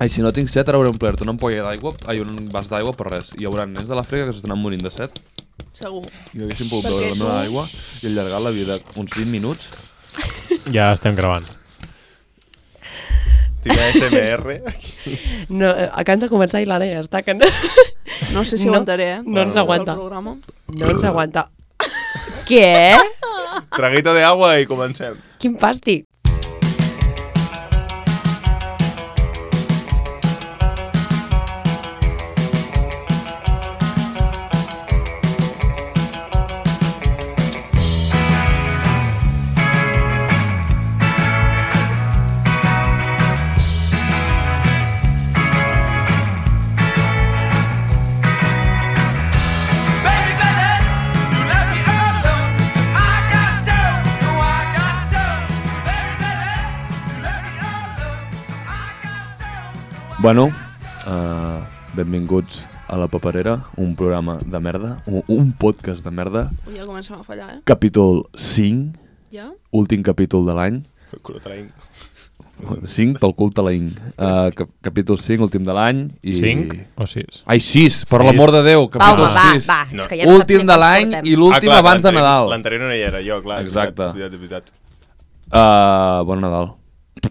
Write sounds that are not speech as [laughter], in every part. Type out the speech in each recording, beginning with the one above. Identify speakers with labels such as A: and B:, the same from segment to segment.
A: Ai, si no tinc set, ara hauré omplert una ampolla d'aigua, ai, un vas d'aigua per res. Hi haurà nens de la frega que s'estaran morint de set.
B: segur.
A: I haguéssim pogut
B: Perquè
A: beure la meva
B: tu-
A: aigua i allargar la vida uns 20 minuts.
C: Ja estem gravant.
D: Tira SMR.
E: No, eh, acabem de començar i l'Anna ja està, que no,
B: No sé si
E: No,
B: aguantaré, eh?
E: no ens
B: Tot el
E: aguanta.
B: programa.
E: No ens aguanta. Què?
D: Traguito de agua i comencem.
E: Quin fàstic.
A: Bueno, uh, benvinguts a La Paperera, un programa de merda, un, un podcast de merda.
B: Ui, ja comencem a fallar, eh?
A: Capítol 5,
B: Ja?
A: últim capítol de l'any.
D: Crotrain.
A: 5 pel cul talaïn. Uh, cap capítol 5, últim de l'any. I...
C: 5 o 6?
A: Ai, 6, per
C: Sis.
A: l'amor de Déu,
F: Va,
A: capítol
F: home, va,
A: 6.
F: va.
D: No.
F: És que ja no saps
A: últim
F: ni
A: de
F: quants
A: l'any
F: portem.
A: i l'últim
D: Ah, clar,
A: abans de
D: l'anterior-
A: Nadal.
D: L'anterior no hi era, jo, clar. és
A: Exacte.
D: Veritat, és veritat, és veritat.
A: Uh, bon Nadal.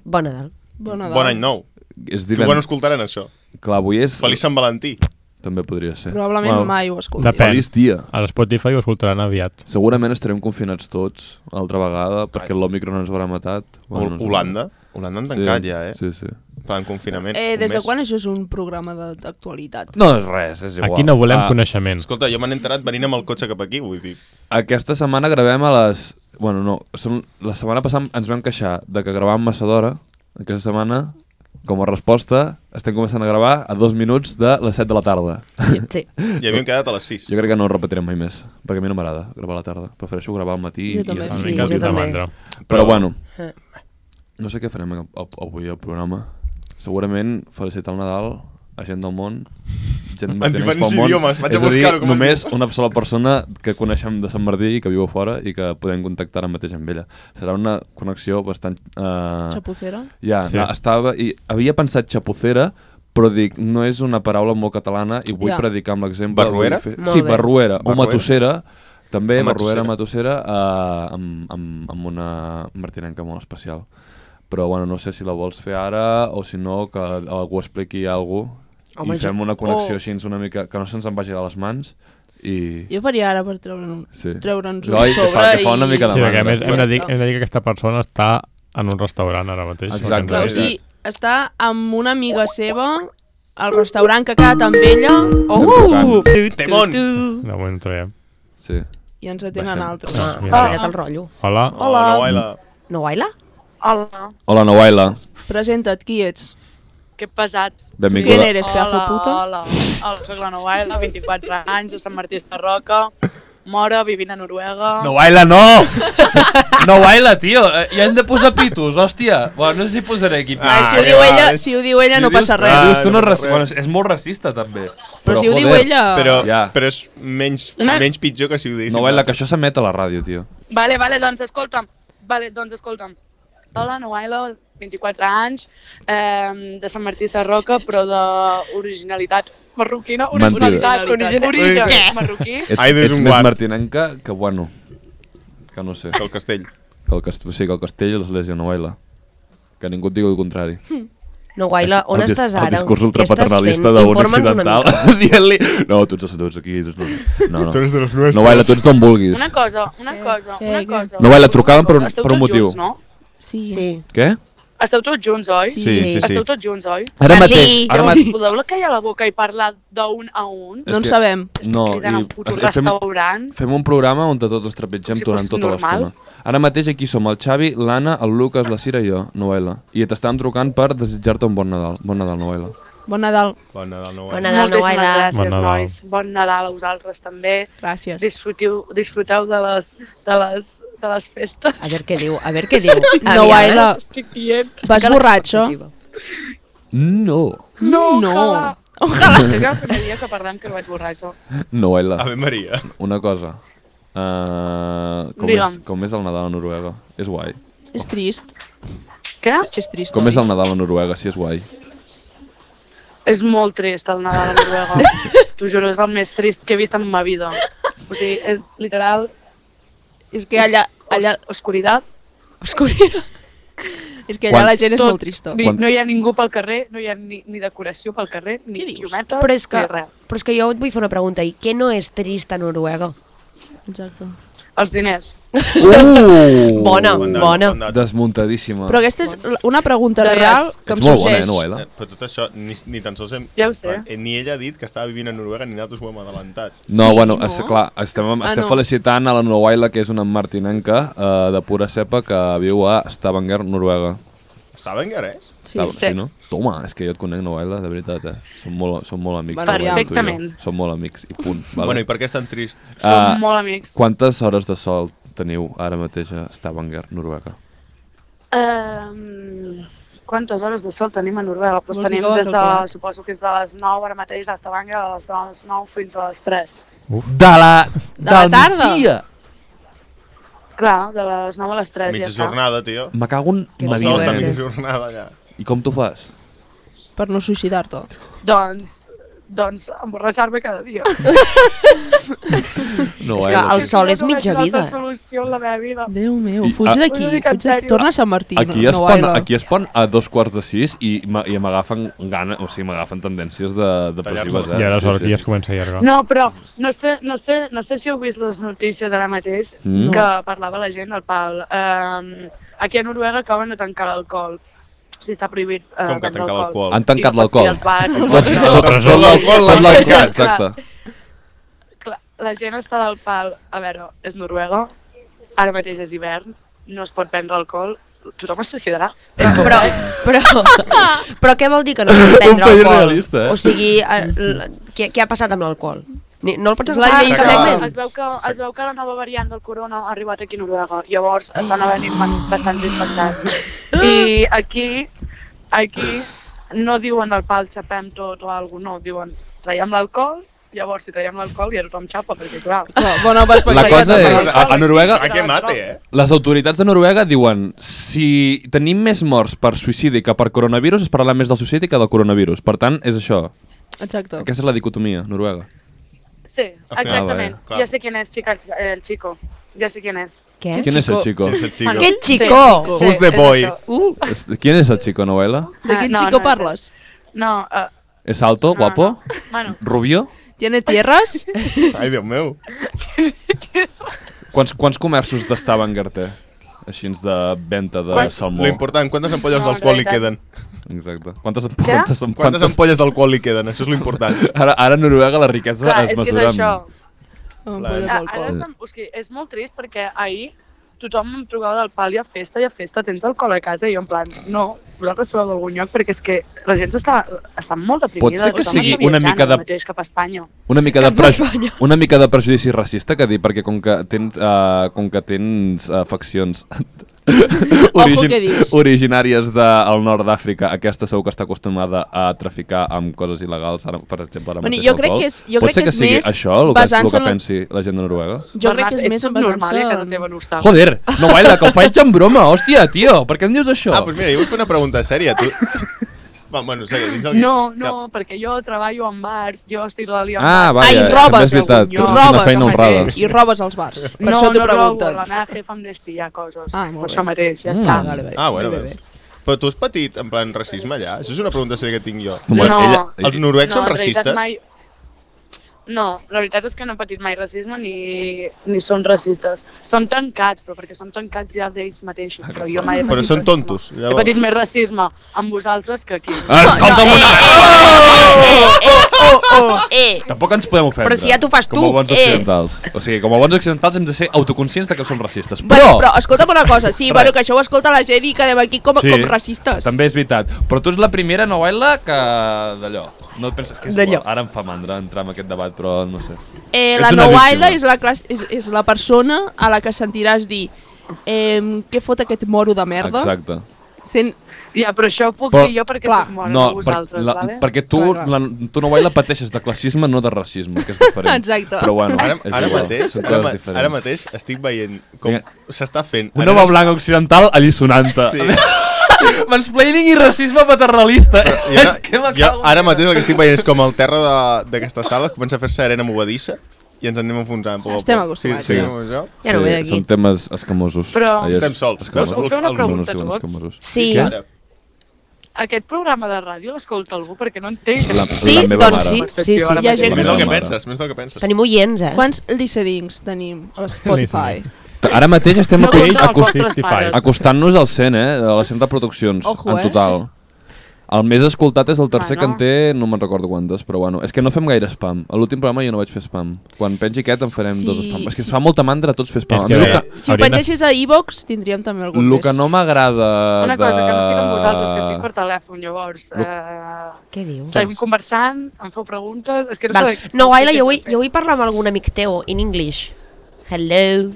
E: Bon Nadal.
B: Bon Nadal.
D: Bon any nou.
A: És
D: Tu
A: divendres.
D: quan escoltaran això?
A: Clar, avui és...
D: Feliç Sant Valentí.
A: També podria ser.
B: Probablement
A: Bueno,
B: mai ho escolti.
C: Depèn.
A: Feliç dia.
C: A l'Spotify ho escoltaran aviat.
A: Segurament estarem confinats tots altra vegada perquè l'Òmicron ens haurà matat.
D: Bueno,
A: no sé.
D: Holanda? Holanda han tancat ja, eh?
A: Sí, sí.
D: En plan confinament.
B: Eh,
D: un
B: des de
D: mes.
B: quan això és un programa de- d'actualitat?
A: No és res, és igual.
C: Aquí no volem
A: Ah,
C: coneixement.
D: Escolta, jo me n'he enterat venint amb el cotxe cap aquí, vull dir.
A: Aquesta setmana gravem a les... Bueno, no, són... la setmana passada ens vam queixar de que gravàvem massa d'hora. Aquesta setmana, com a resposta, estem començant a gravar a dos minuts de les 7 de la tarda.
E: Sí, sí.
D: I havíem quedat a les 6.
A: Jo crec que no ho repetirem mai més, perquè a mi no m'agrada gravar a la tarda. Prefereixo gravar al matí.
B: Jo
A: i
B: també,
A: ja
C: Una
A: està.
B: sí,
C: mica
E: jo
C: de
E: també.
C: mandra.
A: Però bueno,
E: Eh.
A: no sé què farem av- av- avui al programa. Segurament felicitar el Nadal a gent del món,
D: [laughs]
A: gent
D: En
A: pertinents
D: diferents
A: pel món.
D: idiomes, vaig a
A: És dir,
D: buscar-ho, com es
A: només una sola persona que coneixem de Sant Martí i que viu a fora i que podem contactar ara mateix amb ella. Serà una connexió bastant... Eh,
B: Xapucera?
A: ja,
C: Sí.
A: sí. estava, i havia pensat xapucera, però dic, no és una paraula molt catalana i vull
B: Ja.
A: ja. predicar amb l'exemple.
D: Barruera?
A: Vull
E: Molt
A: Sí,
E: bé.
A: barruera, o
D: Barruera.
A: matussera, també,
D: O
A: barruera,
D: matussera.
A: matussera, eh, amb, amb, amb una martinenca molt especial. Però, bueno, no sé si la vols fer ara o si no, que algú expliqui alguna cosa
E: Home,
A: i fem
E: jo-
A: una connexió
B: o-
A: així una mica, que no se'ns en vagi de les mans i...
B: Jo faria ara per treure'n un,
A: Sí.
B: treure'ns un
A: Noi, que fa-
B: sobre
A: que fa una
B: i...
A: mica de eh?
C: Sí, perquè a més hem de, dir,
B: Ja està.
C: hem de dir que aquesta persona està en un restaurant ara mateix.
A: Exacte.
C: perquè en
B: Clar, o
C: realitat-
B: sigui, està amb una amiga seva al restaurant que ha quedat amb ella
A: Oh!
D: Temón!
C: De moment traiem.
A: Sí.
B: i ens atenen
A: Baixem.
B: altres.
E: Ah,
C: Ah,
E: m'ha
C: mira.
E: tallat el rotllo.
C: Hola,
D: Hola. Oh, no, Aila.
E: No baila?
G: Hola,
A: Hola, Noaila.
B: Presenta't, qui ets?
G: que pesats.
B: Qui
A: Benvinguda.
B: eres, pedazo de puta?
G: hola, hola, soc la Novaela, 24 anys, de Sant Martí de Roca, mora, vivint a Noruega.
A: No baila, no! no baila, tio! Eh, Ja hem de posar pitos, hòstia! Bueno, no sé si posaré aquí.
D: Ah,
B: Ai, si ho
D: ja
B: diu ella,
D: ves.
B: si ho diu ella no
A: dius-
B: passa
A: Si
B: res.
A: dius tu
D: Ah,
A: no,
D: no
A: és
D: passa
A: raci-
D: res.
A: bueno, és- és molt racista, també.
B: Però, si ho diu
A: joder,
B: ella...
D: Però,
A: Ja.
D: però és menys,
G: Una-
D: menys pitjor que si ho diguéssim.
A: No baila, que això s'emet a la ràdio, tio.
G: Vale, vale, doncs escolta'm. Vale, doncs escolta'm. Hola, Novaela, 24 anys, eh, de Sant Martí de Roca, però d'originalitat marroquina.
A: Mentida.
G: Originalitat,
B: Originalitat.
G: origen marroquí.
A: Ets,
D: Ai, des
A: ets
D: un
A: més
D: guard.
A: martinenca que, bueno, que no sé.
D: Que el castell.
A: Que el, cast... sí, que el castell i l'església no baila. Que ningú et digui el contrari.
E: No baila, on
A: el, dis-
E: estàs ara?
A: El discurs
E: ultrapaternalista
A: ultrapaternalista d'un [laughs] occidental. Dient-li... No, tu ets tots aquí. Tu ets... no- No, no.
D: Tu eres de los nuestros.
A: No baila, tu ets d'on vulguis.
G: Una cosa, una
B: Què?
G: cosa,
B: Què?
G: una
B: Què?
G: cosa.
A: No, vale,
G: una
A: trucaven
G: cosa.
A: per un-
G: Esteu
A: per un
G: tots
A: motiu.
G: Junts, no?
B: Sí.
E: Sí.
A: Què?
G: Esteu tots junts, oi?
B: Sí.
D: Sí, sí, sí.
G: Esteu tots junts, oi?
A: Ara
E: Ah,
A: mateix...
E: sí.
A: Ara
G: Llavors,
A: mateix...
G: podeu la callar la boca i parlar d'un a un?
A: És
B: No en
A: que-
B: sabem.
A: No,
G: Criden a un puto restaurant.
A: Fem un programa on de tots trepitgem
G: Com si fos
A: durant tota
G: normal.
A: l'estona. Ara mateix aquí som el Xavi, l'Anna, el Lucas, la Cira i jo, Noela. I t'estàvem trucant per desitjar-te un bon Nadal. Bon Nadal, Noela.
B: Bon Nadal.
D: Bon Nadal, no
E: Bon
D: baila.
E: Nadal, no
G: Moltíssimes
E: baila.
C: Bon
G: gràcies,
C: Nadal.
G: nois. Bon Nadal a vosaltres també.
B: Gràcies.
G: Disfrutiu, disfruteu de les, de les, de les festes.
E: A veure què diu, a veure què
F: [laughs]
E: diu. Aviam, eh?
B: baila.
G: [laughs] Estic dient.
B: Vas
E: Que
B: borratxo?
E: l'expectativa.
A: No.
G: No,
B: No.
G: ojalà. Ojalà. És el primer dia que parlem que vaig borratxo.
A: Noela,
D: Ave Maria.
A: una cosa. Uh, com, és,
G: Digue'm.
A: com és el Nadal a Noruega? És guai.
B: És trist.
G: Què?
B: És trist.
A: Com
B: oi?
G: [laughs]
A: és el Nadal a Noruega? Sí, és guai.
G: És molt trist el Nadal a Noruega. T'ho juro, és el més trist que he vist en ma vida. O sigui, és literal
F: És que allà... allà...
G: os oscuritat.
F: Oscurida. És que allà
A: Quan-
F: la gent és
G: Tot.
F: molt trista.
G: Ni,
A: Quan-
G: no hi ha ningú pel carrer, no hi ha ni, ni decoració pel carrer, ni
F: Què dius?
G: llumetes,
E: Però és que,
G: ni res.
E: però és que jo et vull fer una pregunta. I què no és trist a Noruega?
F: Exacte.
G: Els diners.
A: Uh!
E: Bona,
D: Bon dat,
E: bona.
D: bon dat.
A: Desmuntadíssima.
F: Però aquesta és l- una pregunta
G: De res.
F: real que em
A: Ets molt bona, eh,
F: sorgeix.
A: Noela?
D: Eh, Però tot això, ni, ni tan sols hem...
G: Ja ho sé.
D: eh, Ni ella ha dit que estava vivint a Noruega, ni nosaltres ho hem adelantat.
A: No,
F: Sí,
A: bueno,
F: no?
A: és, clar, estem,
F: Ah,
A: estem
F: no.
A: felicitant a la Noela, que és una martinenca eh, de pura cepa que viu a Stavanger, Noruega.
D: Estava en Garès?
A: Sí,
G: sí.
A: sí, no? Toma, és que jo et conec, Noela, de veritat, eh? Som molt, som molt amics.
G: Bueno,
A: Noela, tu i jo.
G: perfectament.
A: Som molt amics, i
D: [laughs]
A: punt. Vale?
D: Bueno, i per què és tan trist?
G: Som
E: eh,
A: Ah.
G: molt amics.
A: Quantes hores de sol teniu ara mateix a Stavanger, Noruega?
G: Um, quantes hores de sol tenim a Noruega? Doncs
F: Vols
G: tenim
F: dir que ho
G: des de,
F: calculat?
G: suposo que és de les 9 ara mateix a Stavanger, a les de les 9 fins a les 3.
A: De la...
F: De la tarda.
G: Clar, de les 9 a les 3
D: Mitja
G: ja està.
D: jornada, tio.
A: Me cago en
E: Que
A: la
E: no
D: Sol
A: vida,
D: està
E: Evidentment.
A: nen.
D: mitja jornada allà.
A: I com t'ho fas?
F: Per no suïcidar-te.
G: Doncs, doncs emborratxar-me cada dia.
A: No,
E: És
A: eh?
E: que el
G: És
E: sol
G: que
E: és mitja
G: No veig una
E: vida.
G: altra solució en la meva vida.
F: Déu meu,
A: I-
F: fuig
A: ah-
F: d'aquí.
G: Una mica en
F: Fuig d'aquí.
G: sèrio.
F: Torna a Sant Martí.
A: Aquí
F: no,
A: es, pon,
F: Noela.
A: aquí es pon a dos quarts de sis i, ma- i m'agafen gana, o sigui, m'agafen tendències de, depressives.
D: Tallar-nos.
A: Eh?
C: I ara
A: Sí,
C: sort
A: sí.
C: ja es comença a allargar.
G: No, però no sé, no, sé, no sé si heu vist les notícies ara mateix
A: Mm.
G: que parlava la gent, el Pal. Um, aquí a Noruega acaben de tancar l'alcohol. O sigui, està prohibit eh,
D: Com que
G: vendre
D: tancar l'alcohol?
A: Han tancat
G: I no pots
A: l'alcohol.
G: dir als bars,
A: [laughs]
G: no
A: Tot,
G: pots dir-
A: tot, tot,
C: Resol
A: l'alcohol
G: l'alcohol.
A: l'han tancat,
G: Clar.
A: exacte.
G: Clar, la gent està del pal, a veure, és Noruega, ara mateix és hivern, no es pot prendre alcohol, tothom es suïcidarà.
E: Però, però, però què vol dir que no pots prendre
A: país
E: alcohol?
A: realista, eh?
E: O sigui, eh, l- què, què ha passat amb l'alcohol? Ni- No el pots
F: La
E: agafar
F: llei
E: en
G: Es
E: cap
G: veu,
E: moment?
G: es, veu que, es veu que la nova variant del corona ha arribat aquí a Noruega, llavors estan
A: Ah.
G: venint bastants infectats. I aquí, aquí no diuen el pal xapem tot o alguna no, diuen traiem l'alcohol, llavors si traiem l'alcohol ja tothom xapa, perquè clar...
F: Clar, Bona perspectiva.
A: cosa
F: també.
A: és- a- a Noruega-
D: A què mate, eh?
A: Les autoritats de Noruega diuen si tenim més morts per suïcidi que per coronavirus, es parlarà més del suïcidi que del coronavirus. Per tant, és això.
F: Exacte.
A: Aquesta és la dicotomia, Noruega.
G: Sí,
D: Ah,
G: exactament.
D: bé, clar.
G: ja sé quién és, chica, el chico. Ja sé quién és.
E: Què?
A: Qui és el chico?
D: Aquest xico.
E: Aquest
G: Sí,
E: xicó!
G: sí,
D: Who's the
G: és
D: boy?
G: això.
F: Uh,
A: Qui és el chico, Noela?
F: de quin
G: Ah, no,
F: xico
G: no,
F: parles?
G: No, uh,
A: ¿Es alto,
G: no,
A: guapo,
G: no. Bueno,
A: rubio?
F: Tiene tierras?
G: [laughs]
D: Ai, Déu meu.
A: Quants, quants comerços d'Stavanger té? Així de venda de
G: Quan-
A: salmó.
D: Lo important, quantes ampolles
G: No, en
D: d'alcohol li queden?
G: realitat.
A: Exacte. Quantes, quantes,
G: Què?
A: quantes,
D: Quantes ampolles d'alcohol li queden? Això és lo important.
A: [laughs] Ara, ara a Noruega la riquesa
G: clar,
A: es
G: és que és
A: mesura... amb-
G: això.
F: Ampolles
G: Ah, Ara
F: d'alcohol.
G: estem, o sigui, és molt trist perquè ahir tothom em trucava del pal i a festa, i a festa tens alcohol a casa, i jo en plan, no, vosaltres sabeu d'algun lloc, perquè és que la gent està, està molt deprimida.
A: Pot ser que
G: tothom
A: sigui
G: està
A: una
G: viatjant
A: mica de-
G: ara mateix cap a Espanya.
A: Una mica, de
E: Cap a
A: pres...
E: Espanya.
A: una mica de prejudici racista que dir, perquè com que tens, uh, com que tens uh, faccions
G: Ah,
F: què dius.
A: originàries del nord d'Àfrica, aquesta segur que està acostumada a traficar amb coses il·legals, ara, per exemple, ara
F: Bueno,
A: mateix
F: jo crec
A: alcohol.
F: que és- jo
A: Pot
F: crec
A: ser
F: que
A: que,
F: és
A: sigui
F: més
A: això, el que, és, el
F: basant-se
A: que
F: en el-
A: pensi la gent de Noruega?
F: Jo crec que és més en
G: normal, eh,
F: basant-se...
G: a casa
F: en-
G: teva no ho
E: Ah.
G: saps.
A: Joder, no baila, que ho faig en broma, hòstia, tio, per què em dius això?
D: Ah, doncs mira, jo vull fer una pregunta sèria. Tu... Va, bueno, sèria, dins el...
G: No, no, perquè jo treballo en bars, jo estic a l'Alian
A: Ah,
G: Bars.
A: vaja,
F: Ai, robes,
A: és veritat,
G: vergonyós.
A: és una
F: Robes,
A: feina
G: home,
A: honrada.
G: que-
F: I robes als bars. Per
G: no,
F: això t'ho
G: no,
F: pregunten.
G: No, la meva jefa em deixa pillar coses.
F: Ah,
G: Ah,
F: molt
G: per
F: bé.
G: això mateix, ja
A: Mm.
G: està.
F: Vale, vale.
D: Ah, bueno,
F: Eh, Bé, bé,
D: veus. Però tu has patit, en plan, racisme allà? Això és una pregunta sèria que tinc jo.
G: No.
D: Els noruecs són
G: en realitat
D: racistes?
G: No, la veritat és que no han patit mai racisme ni, ni són racistes. Són tancats, però perquè són tancats ja d'ells mateixos, però jo mai he
D: Però
G: patit
D: són
G: racisme.
D: tontos.
G: He
D: Llavors.
G: patit més racisme amb vosaltres que aquí.
A: Ah!
E: eh,
A: Escolta'm una...
E: Oh, oh, eh!
A: Tampoc ens podem ofendre.
E: Però si ja t'ho fas
A: Com
E: tu,
A: a bons
E: eh.
A: occidentals. O sigui, com a bons occidentals hem de ser autoconscients de que som racistes.
F: Bueno,
A: Però,
F: però escolta'm una cosa, sí, bueno, que això ho escolta la gent i quedem aquí com,
A: Sí.
F: com racistes.
A: també és veritat. Però tu ets la primera novel·la que... d'allò. No et penses que és
E: D'allò.
A: igual. Ara em fa mandra entrar en aquest debat, però no sé.
F: Eh,
A: Ets
F: la
A: una
F: Nowaida
A: víctima.
F: és, la classe, és, és la persona a la que sentiràs dir ehm, què fot aquest moro de merda?
A: Exacte.
F: Sent...
G: Ja, però això ho puc
A: Però-
G: dir jo perquè
F: clar,
G: soc mora no, vosaltres,
A: la,
G: vale?
A: perquè tu,
F: Clar, clar.
A: la, tu novel·la pateixes de classisme, no de racisme, que és
E: [laughs]
A: diferent.
F: Exacte.
A: Però bueno,
D: Ara,
A: és
D: ara,
A: igual,
D: mateix,
A: són
D: ara,
A: coses
D: ma-
A: diferents.
D: ara mateix estic veient com
A: Vinga.
D: s'està fent...
A: Una home blanc occidental allisonant-te.
D: Sí.
A: Mansplaining i racisme paternalista. [laughs]
D: Jo,
A: és que me
D: jo
A: cago.
D: ara mateix el que estic veient és com el terra de- d'aquesta sala comença a fer-se arena movedissa i ens anem enfonsant. Poc, a poc.
F: Estem acostumats,
D: Sí, sí.
A: ja.
D: ja.
E: Ja no ve d'aquí.
A: Són temes escamosos.
G: Però-
A: Allò és
D: Estem sols.
A: escamós.
D: Veus, puc fer una
A: Els monos
G: pregunta a
A: diuen
G: tots?
A: escamosos.
E: Sí.
A: Què?
D: Ara.
G: Aquest programa de ràdio l'escolta algú perquè no entenc.
A: La-
E: Sí,
A: la meva
E: doncs
A: mare.
E: sí, sí, sí.
G: Obsessió ara
F: Hi ha gent
D: Més del
A: Sí.
D: que penses, més del que penses.
E: Tenim oients, eh?
F: Quants listenings tenim a Spotify?
A: Ara mateix estem
G: No,
A: acos-
G: no, no,
A: acos-
G: vostres pares.
A: acostant-nos al 100, eh? A les 100 reproduccions,
F: Ojo,
A: en
F: eh?
A: total. El més escoltat és el tercer
G: Bueno.
A: que en té, no me'n recordo quantes, però bueno. És que no fem gaire spam. A l'últim programa jo no vaig fer spam. Quan pengi aquest en farem
F: Sí,
A: dos spam. És que
F: sí.
A: es fa molta mandra tots fer spam.
C: És
A: A
C: que,
A: mi
C: a
A: el
C: veure,
A: que,
F: Si ho
C: hauríem de-
F: pengessis a Evox, tindríem també algun
A: el que
F: més.
A: no m'agrada de...
G: Una cosa, que no estic amb vosaltres, que estic per telèfon, llavors... Eh,
E: Què dius?
G: seguim conversant, em feu preguntes... És que no
E: Doncs. Val.
G: sé...
E: No, Aila, jo vull,
G: sé què
E: jo vull parlar amb algun amic teu, in English. Hello.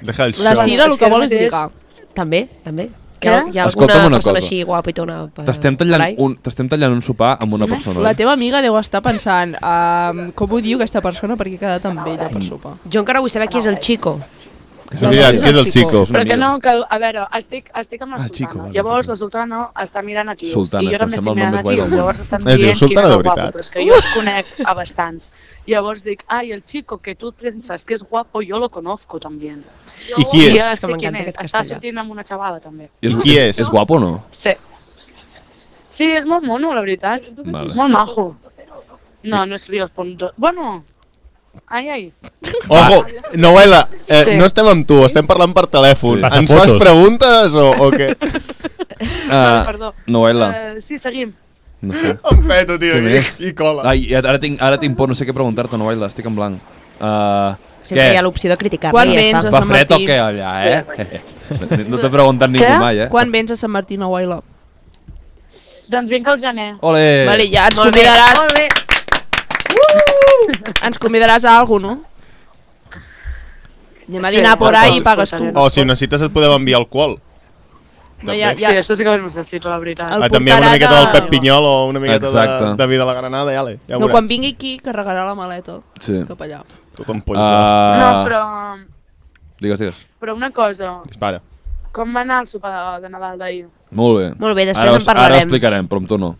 D: Deja el
F: La
D: show.
F: Sira el
G: És que
F: que
G: ara
F: vol és
G: mateix-
F: lligar.
E: També, també.
G: Què?
E: Hi ha, hi ha alguna
A: Escolta'm una
E: persona
A: cosa.
E: així guapetona? per-
A: T'estem
E: per
A: tallant,
E: ahí?
A: un, t'estem tallant un sopar amb una persona.
F: La
A: eh?
F: teva amiga deu estar pensant um, com ho diu aquesta persona perquè he quedat amb ella
D: Mm.
F: per sopar.
E: Jo encara vull saber qui és el Chico.
A: Que
D: Sí,
A: sembla
D: ja,
A: que
D: Qui és el
A: Chico,
D: Chico?
A: és una
G: Però que
A: amiga.
G: no, que, a veure, estic, estic amb la
A: Ah,
G: Sultana.
A: Chico, vale,
G: llavors
A: perfecte.
G: la Sultana està mirant a tios.
A: Sultana, és
G: I jo
A: que
G: ara
A: em
G: m'estic
A: sembla el nom
G: mirant a
A: més guai del
G: tios.
A: món.
G: Llavors estan
D: Es diu
G: dient qui és
D: Eh, Sultana,
G: el
D: de
G: guapo,
D: veritat.
G: però és que jo els conec a bastants. Llavors dic, ai, el chico que tu penses que és guapo, jo lo conozco també.
D: I qui
G: I
D: és?
G: ara
E: Que
G: sé
E: m'encanta
G: quin és.
E: aquest
G: Està
E: castellà.
G: sortint amb una xavala també.
A: És,
D: I qui és?
A: És guapo o no?
G: Sí. Sí, és molt mono, la veritat.
A: Vale.
G: Molt majo. No, no és Ríos Ponto. Bueno, ai, ai.
D: Ojo, Noela, eh,
G: Sí.
D: no estem amb tu, estem parlant per telèfon.
C: Sí.
D: Ens
C: Passa
D: fas
C: fotos.
D: preguntes o, o [laughs] què?
A: Ah,
G: perdó.
A: Noel·la,
G: Eh, sí, seguim.
A: no sé.
D: Em peto, tio,
A: Què
D: i,
A: més?
D: i cola.
A: Ai, i ara tinc, ara tinc por, no sé què preguntar-te, Noel·la, estic en blanc. Uh,
E: Sempre hi
A: què?
E: ha l'opció de criticar-la
F: Quan
E: i ja
F: vens
E: està.
A: Fa
F: Sant
A: fred o
F: Martí.
A: què allà, eh? No t'ha preguntat ningú
G: Què?
A: mai, eh?
F: Quan vens a Sant Martí nou I love?
G: Doncs vinc al gener.
A: Ole!
D: Eh.
F: Vale, ja ens
E: Molt bé,
F: convidaràs, Uh!
E: molt bé.
F: ens convidaràs a algú, no? Anem a
G: Sí,
F: dinar por
G: bueno,
F: ahí
G: sí,
F: i pagues tu.
G: escoltarem.
D: O si ho necessites et podem enviar alcohol.
F: No, ja,
G: Ja. Sí,
F: ja.
G: això sí que ho necessito, la veritat.
F: El
D: Ah, també amb
F: portarà
D: una miqueta del
F: de-
D: Pep Pinyol o una miqueta de,
A: Exacte.
D: de vida a la granada, i ale, ja ho
F: No,
D: veuràs.
F: quan vingui aquí, carregarà la maleta
A: Sí.
F: cap allà.
D: Tothom
A: Uh,
D: polsa.
G: No, però,
A: Digues, digues.
G: però una cosa,
D: Dispara.
G: com va anar el sopar de, de Nadal d'ahir?
A: Molt bé.
E: Molt bé, després
A: ara,
E: en
A: us- Ara
E: parlarem.
A: ho explicarem, però amb tu no.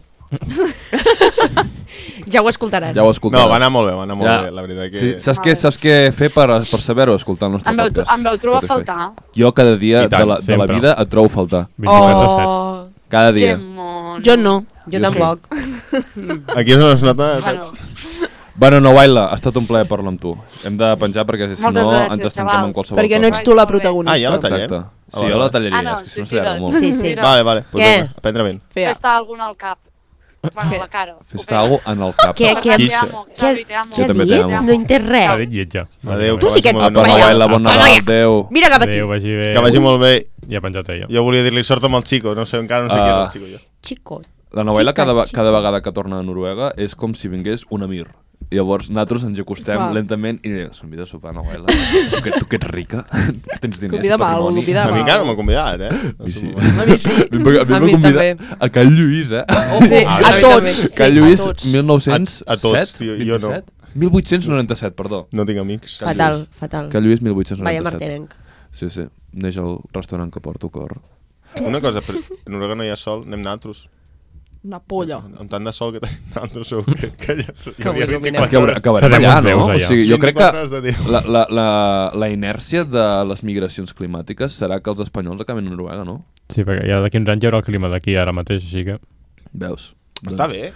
E: Ja ho escoltaràs. Oh,
A: Ja ho
D: No,
A: escoltaràs.
D: va anar molt bé, va anar molt
A: Ja.
D: bé, la veritat que...
A: Sí, saps, què, saps què fer per, per saber-ho, escoltar el nostre
G: Em veu,
A: podcast?
G: em veu trobar a
A: Spotify.
G: faltar.
A: Jo cada dia
D: I tant,
A: de, la, de la
C: sempre.
A: vida et trobo a faltar.
C: 24
E: Oh.
C: 7.
A: Cada
G: Que
A: dia.
G: mono.
F: Jo no.
E: Jo
A: Jo
E: tampoc.
D: Aquí és on es nota,
G: Bueno,
D: saps?
A: Bueno, no, Waila, ha estat un plaer parlar amb tu. Hem de penjar perquè si
G: Moltes
A: no
G: gràcies,
A: ens estanquem
G: xavals.
A: amb qualsevol
F: Perquè
A: cosa.
F: no ets tu la
G: Molt bé.
F: protagonista.
D: Ah, ja la tallem?
A: Exacte.
D: Ah,
A: Sí,
D: vale,
A: jo la
D: vale.
A: tallaria,
G: ah, no, doncs.
A: és que no s'allarga
G: suïcida't.
A: molt.
E: Sí, sí.
G: Suïcida't.
D: Vale, vale, pues
E: Què?
D: vinga, a prendre vent.
F: Fea.
G: Fes-te alguna al cap. Bueno, a la cara.
A: Fes-te alguna cosa en el cap.
E: Què-
G: Perquè
D: què-
G: te amo,
E: Què,
G: Xavi, te amo.
E: què
A: Jo
E: ha
A: també
E: dit?
A: t'amo.
E: No he entès
C: Ha
E: res.
C: dit lletja.
D: Adéu,
E: Tu sí que ets
D: molt
A: Apa,
E: Vaya.
A: Noel·la, bon
E: Vaya.
A: Nadal, adeu.
E: Mira cap aquí.
C: Adéu, vagi bé.
D: Que vagi molt bé.
C: Ja ha penjat ella.
D: Jo volia dir-li sort amb el Chico, no sé, encara no sé qui
A: Ah.
D: és el Chico jo.
E: Chico.
A: La novel·la
E: Chica,
A: cada, ve-
E: chica.
A: cada vegada que torna a Noruega és com si vingués un emir. Llavors, nosaltres ens hi acostem
F: Clar.
A: lentament i diem, convida a sopar, novel·la. tu, que, tu que ets rica, [laughs] que tens diners
F: Convida'm a algú,
D: A
F: convida'm
D: mi
F: a
D: encara no m'ha convidat, eh?
A: I sí.
F: A mi sí.
A: [laughs] A mi m'ha- a mi m'ha
E: A mi
A: convidat
E: també.
A: a Can Lluís, eh? [laughs]
F: Sí,
D: Ah,
F: a
D: sí.
F: tots.
A: Sí, Can Lluís,
F: a tots.
A: 1907?
D: A- a tots, tio, jo no.
A: 27? 1897, perdó.
D: No tinc amics.
E: Fatal, fatal.
A: Can Lluís, 1897.
E: Vaya martenenc.
A: Sí, sí. Neix al restaurant que porto cor.
D: Una cosa, però a Noruega no hi ha sol, anem nosaltres.
F: Una polla.
D: Amb tant de sol que tenim [laughs] nosaltres segur que, que ja so- hi
E: ho
D: hauria
E: dominem.
D: 24
A: És que haurà-
D: hores.
A: acabarem
C: Serem
A: allà,
C: uns
A: no?
C: déus
A: O
C: allà.
A: sigui, jo crec
D: 24 hores de
A: que Doncs.
D: dia.
A: la, la, la, la inèrcia de les migracions climàtiques serà que els espanyols acaben a Noruega, no?
C: Sí, perquè ja de 15 anys hi haurà el clima d'aquí ara mateix, així que...
A: Veus? Doncs,
D: Està bé,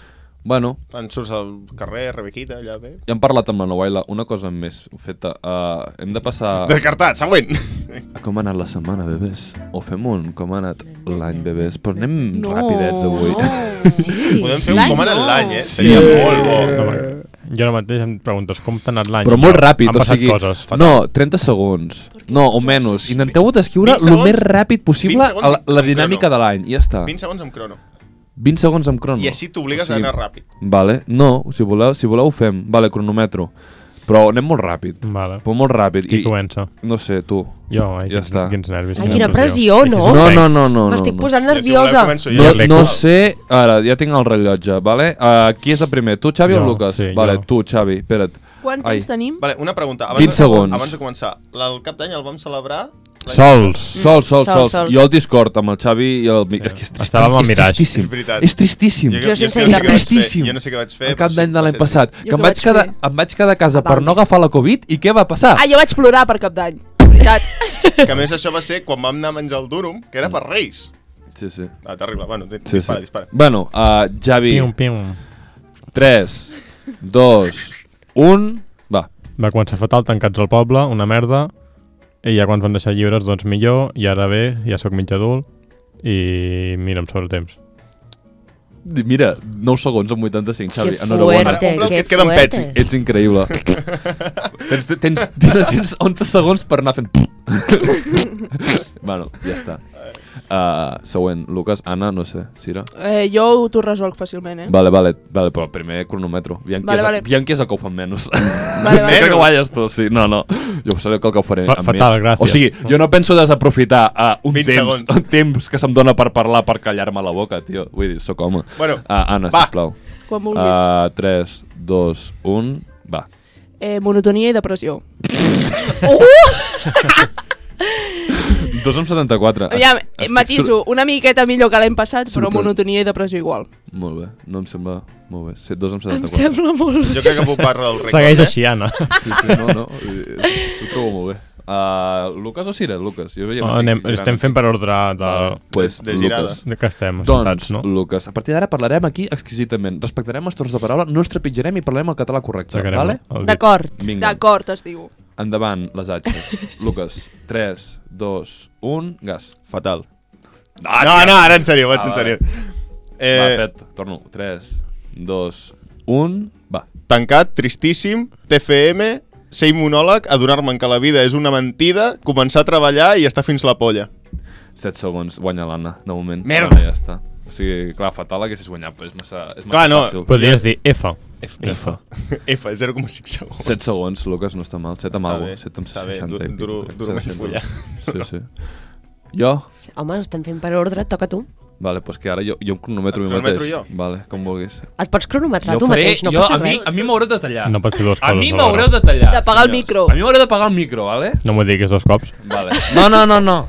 A: Bueno,
D: quan surts al carrer, Rebequita, allà bé.
A: ja hem parlat amb la Novaila. Una cosa més feta. Uh, hem de passar a
D: Descartat, següent!
A: com ha anat la setmana, bebès. O fem un com ha anat l'any, bebès. Però anem
F: No,
A: rapidets avui.
F: no.
E: Sí.
D: [laughs] Podem fer un
F: l'any
D: com en
F: no.
D: l'any, eh?
A: Sí.
D: Seria molt bo.
C: No, perquè jo ara mateix em preguntes com t'ha anat
A: [laughs]
C: l'any.
A: Però molt
C: Jo,
A: ràpid,
C: Han
A: o
C: passat
A: sigui...
C: coses.
A: No, 30 segons. No, o menys. Intenteu descriure
D: 20
A: el més
D: segons?
A: ràpid
D: 20
A: possible
D: segons
A: la,
D: amb
A: la
D: crono.
A: dinàmica de l'any. Ja està.
D: 20 segons amb crono.
A: 20 segons amb crono.
D: I així t'obligues a anar ràpid.
A: Vale, no, si voleu, si voleu ho fem. Vale, cronometro. Però anem molt ràpid.
C: Vale.
A: Però molt ràpid.
C: Qui comença?
A: No sé, tu.
C: Jo, ai,
A: Ja
C: quins,
A: està.
C: quins nervis.
E: Ai,
C: quina
E: quina pressió, no?
C: Així
A: No,
C: suspenc.
A: no, no, no.
E: M'estic
A: no,
E: posant
D: Ja, si voleu,
E: nerviosa.
D: començo jo.
A: No,
C: Crec
A: no
C: que-
A: sé, ara ja tinc el rellotge, vale? Uh, qui és el primer, tu Xavi o
C: Jo,
A: el Lucas?
C: sí,
A: vale,
C: jo.
A: tu Xavi, espera't.
F: Quant
A: Ai.
F: temps tenim?
D: Vale, una pregunta. Abans
A: 20 segons.
D: Abans de començar, la- el cap d'any el vam celebrar
C: Sols.
A: Sol, sol,
E: Sol,
A: sol.
E: sol.
A: Jo al Discord amb el Xavi i el... Sí. És que és trist-
C: Estàvem al
A: és
C: Mirage.
A: tristíssim.
D: És veritat.
A: És tristíssim.
D: Jo,
E: sense
D: és que no sé
E: internet.
D: què vaig fer,
A: Tristíssim.
D: Jo no sé què vaig fer.
A: El cap
D: però
A: d'any
D: sí,
A: de l'any
D: va ser
A: passat. Que em
F: què
A: vaig,
F: vaig
A: quedar,
F: fer?
A: em vaig quedar a casa per no agafar la Covid i què va passar?
F: Ah, jo vaig plorar per cap d'any. Veritat.
D: trist. Que a més això va ser quan vam anar a menjar el Durum, que era per Reis.
A: Sí, sí.
D: Ah, terrible. Bueno, di-
A: sí,
D: dispara,
A: sí.
D: dispara.
A: Bueno, uh, Xavi,
C: Pium, pium.
A: 3, 2, 1... Va.
C: Va començar fatal, tancats al poble, una merda, i ja quan ens van deixar lliures, doncs millor, i ara bé, ja sóc mig adult, i mira, em sobra temps.
A: Di- Mira, 9 segons amb 85, Xavi.
E: Que
A: Enhorabona.
E: fuerte,
D: Omple el que
E: que
D: et queda en
E: fuerte.
D: Pepsi.
A: Ets increïble. tens, tens, tens, tens 11 segons per anar fent... bueno, ja està. Uh, següent, Lucas, Anna, no sé, Sira.
F: Eh, jo ho t'ho resolc fàcilment, eh?
A: Vale, vale, vale, però primer cronometro. Aviam qui,
F: Vale,
A: és,
F: vale.
A: aviam qui és el que ho fan menys. [laughs]
F: Vale, vale.
A: Menys que guanyes tu, sí. No, no. Jo sabeu que el que ho faré
C: Fa-
A: amb
C: fatal,
A: més.
C: gràcies.
A: O sigui, jo no penso desaprofitar uh, un,
D: 20
A: temps,
D: segons.
A: un temps que se'm dona per parlar per callar-me la boca, tio. Vull dir, sóc home.
D: Bueno,
A: uh, Anna,
D: va.
A: sisplau.
F: Quan vulguis.
A: Uh, 3, 2, 1... Va.
F: Eh, monotonia i depressió.
A: Dos amb 74.
F: Aviam, eh,
A: Estic
F: matiso, una miqueta millor que l'any passat, però
A: Sorprèn.
F: monotonia i depressió igual.
A: sor- Molt bé, no em sembla... Molt bé, set- dos amb
F: Em
A: 74.
F: sembla molt...
D: jo crec que puc parlar del rècord.
C: Segueix
D: eh?
C: així, Anna.
A: Sí, sí, no, no. eh, Ho trobo molt bé. Uh, Lucas o Sira? Lucas. Jo ja
C: No,
A: m'estic
C: [laughs] anem,
A: girant.
C: estem fent per ordre de...
A: pues,
D: De girada.
A: Lucas.
C: de que estem
A: Doncs,
C: assentats, no?
A: Lucas, a partir d'ara parlarem aquí exquisitament. Respectarem els torns de paraula, no ens trepitjarem i parlarem el català correcte,
C: Aixecarem
A: vale?
C: el dit.
E: D'acord.
A: Vinga,
F: D'acord, es diu.
A: endavant, les atxes. Lucas, 3, 2, 1, gas.
D: Fatal. No, no, ara en sèrio, vaig
A: Ah,
D: en
A: vale.
D: sèrio.
A: Eh... Va,
D: Eh,
A: Pet, torno. 3, 2, 1, va.
D: tancat, tristíssim, TFM, ser monòleg, adonar-me'n que la vida és una mentida, començar a treballar i estar fins la polla.
A: 7 segons, guanya l'Anna, de moment.
D: Merda.
A: Ah, ja està. O sigui, clar, fatal haguessis guanyat, però és massa, és massa
D: Clar, no,
A: fàcil.
C: Podries dir F.
D: F. F, F 0,6 segons.
A: 7 segons, Lucas, no està mal. 7 amb
D: Està
A: alguna
D: bé,
A: cosa. 7 amb
D: està bé,
A: 60
D: dur-
A: i pico,
D: duro-
A: crec,
D: durament
A: 60.
D: follar.
A: Sí, sí. Jo?
E: Home, estem fent per ordre, toca tu.
A: Vale, doncs que ara jo, jo em cronometro
D: Et
A: mi mateix.
D: cronometro jo?
A: Vale, com vulguis.
E: Et pots cronometrar tu mateix, no
A: jo,
E: passa
A: a mi,
E: res.
A: a mi m'haureu de tallar.
C: No pots fer dues
A: a
C: coses
A: mi
C: alhora.
A: m'haureu de tallar.
F: De pagar
A: senyors.
F: el micro.
A: A mi m'haureu de pagar el micro, vale?
C: No m'ho diguis dos cops.
A: Vale. No, no, no, no.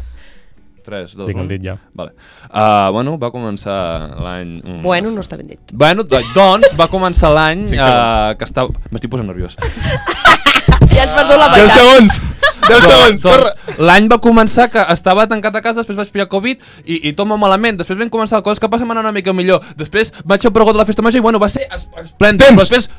A: 3, 2,
C: Tinc el
A: 1.
C: dit ja.
A: Vale. Uh, bueno, va començar l'any... mm,
E: Bueno, no està ben dit.
A: Bueno, do- doncs va començar l'any
D: Cinc
A: uh, que estava... M'estic posant nerviós.
F: Ja has perdut la
D: 10
F: meitat.
D: Ah, segons! 10 segons, corre!
A: doncs l'any va començar que estava tancat a casa, després vaig pillar Covid i, i tot molt malament. Després van començar coses que passen anar una mica millor. Després vaig fer un pregó de la festa major i bueno, va ser es- esplèndid.
D: Temps!
A: Però Després,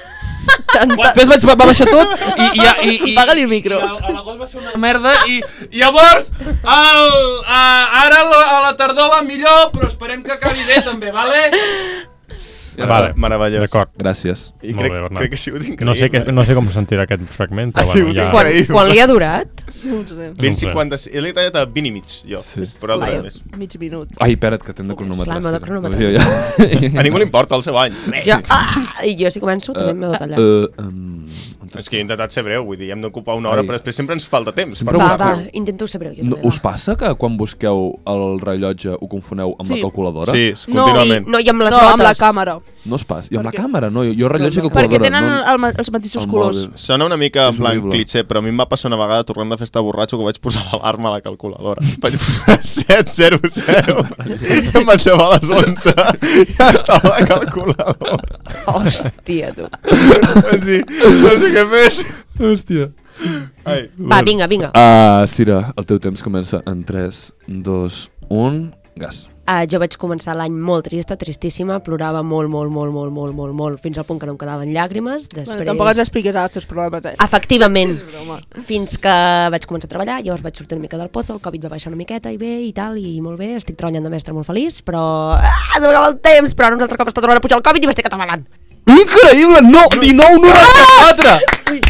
A: després vaig, va, va baixar tot i... i, i, i, i
F: Apaga-li el micro.
A: I, a- a l'agost va ser una merda i, i llavors el, a, ara la, a la tardor va millor, però esperem que acabi bé també, vale? Ja
C: Vale,
D: Meravellós.
C: D'acord.
A: Gràcies.
D: I
C: Molt
D: crec,
C: bé, Bernat.
D: crec que ha sigut increïble. eh.
C: No sé, que, no sé com se sentirà aquest fragment, però
D: Ha
C: bueno,
D: sigut
C: ja...
E: Quan,
D: Increïble.
E: quan li ha durat?
F: No ho sé.
C: No
D: 20,
C: ho sé.
D: 50, l'he tallat a 20 i mig, jo.
A: Sí.
D: Sí. Però altre
E: Clar,
D: més.
F: Mig minut.
A: Ai, espera't, que t'hem de cronometrar.
E: Clar, m'ha de
A: sí.
E: cronometrar.
A: Jo ja-
D: A ningú li importa el seu any.
E: Jo, ah, I jo si començo també m'he de tallar.
A: [laughs] Eh, em, on
D: És que he intentat ser breu, vull dir, hem d'ocupar una hora,
A: Ai.
D: però després sempre ens falta temps.
A: Sempre
D: per
E: Va,
A: ho-
E: va,
D: parlar.
E: intento ser breu. Jo
A: No,
E: també,
A: us
E: va.
A: passa que quan busqueu el rellotge ho confoneu amb la
F: Sí.
A: calculadora?
D: Sí,
F: No.
D: contínuament.
E: No, i amb les
F: No,
E: notes.
F: amb la
E: [laughs]
F: càmera.
A: No es pas. I amb la
F: Perquè-
A: càmera, no? Jo, jo rellotge i calculadora.
F: Perquè tenen
A: no,
F: el, ma- els mateixos
A: el
F: colors.
A: mòbil.
D: Sona una mica en
A: És
D: plan
A: horrible.
D: cliché, però a mi em va passar una vegada tornant de festa borratxo que vaig posar l'alarma a la
A: [laughs]
D: calculadora. Vaig posar 700 i em vaig llevar a les 11 ja estava a la calculadora.
E: Hòstia, tu.
D: Vaig dir, no sé què he fet.
A: Hòstia.
D: Ai,
E: Va, vinga, vinga.
A: Uh, Sira, el teu temps comença en 3, 2, 1... Gas.
E: Uh, jo vaig començar l'any molt trista, tristíssima, plorava molt, molt, molt, molt, molt, molt, molt, fins al punt que no em quedaven llàgrimes. Després...
F: Bueno, tampoc ens expliques els teus problemes,
E: Ah,
F: eh?
E: Efectivament,
F: broma.
E: fins que vaig començar a treballar, llavors vaig sortir una mica del pozo, el Covid va baixar una miqueta i bé, i tal, i molt bé, estic treballant de mestre molt feliç, però... Ah, se m'acaba el temps, però ara un altre cop està tornant a pujar el Covid i m'estic atabalant.
A: Increïble! No! 19,94!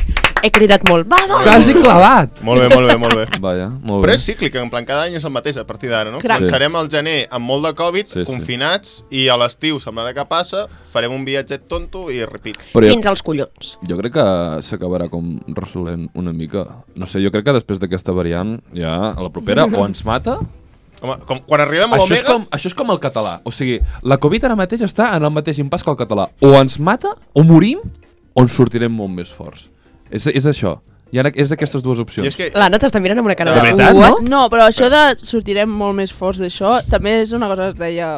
E: He cridat molt, vamos!
A: Quasi clavat!
D: molt bé, molt bé,
A: [laughs]
D: molt bé.
A: Vaja, molt
D: Però
A: bé.
D: és cíclic, en plan, cada any és el mateix a partir d'ara, no?
F: Clar.
D: Començarem al gener amb molt de Covid,
A: Sí, sí.
D: confinats, i a l'estiu semblarà que passa, farem un viatget tonto i repeat.
A: Però jo,
E: Fins als collons.
A: jo crec que s'acabarà com resolent una mica. No sé, jo crec que després d'aquesta variant ja a la propera o ens mata
D: Home, com, quan arribem a
A: Això és,
D: l'Omega...
A: com, això és com el català. O sigui, la Covid ara mateix està en el mateix impàs que el català. O ens mata, o morim, o en sortirem molt més forts. És, és això. Hi ha, és aquestes dues opcions.
D: Jo és que...
E: L'Anna t'està mirant amb una cara de...
D: De veritat,
E: What?
F: No, però això de sortirem molt més forts d'això també és una cosa que es deia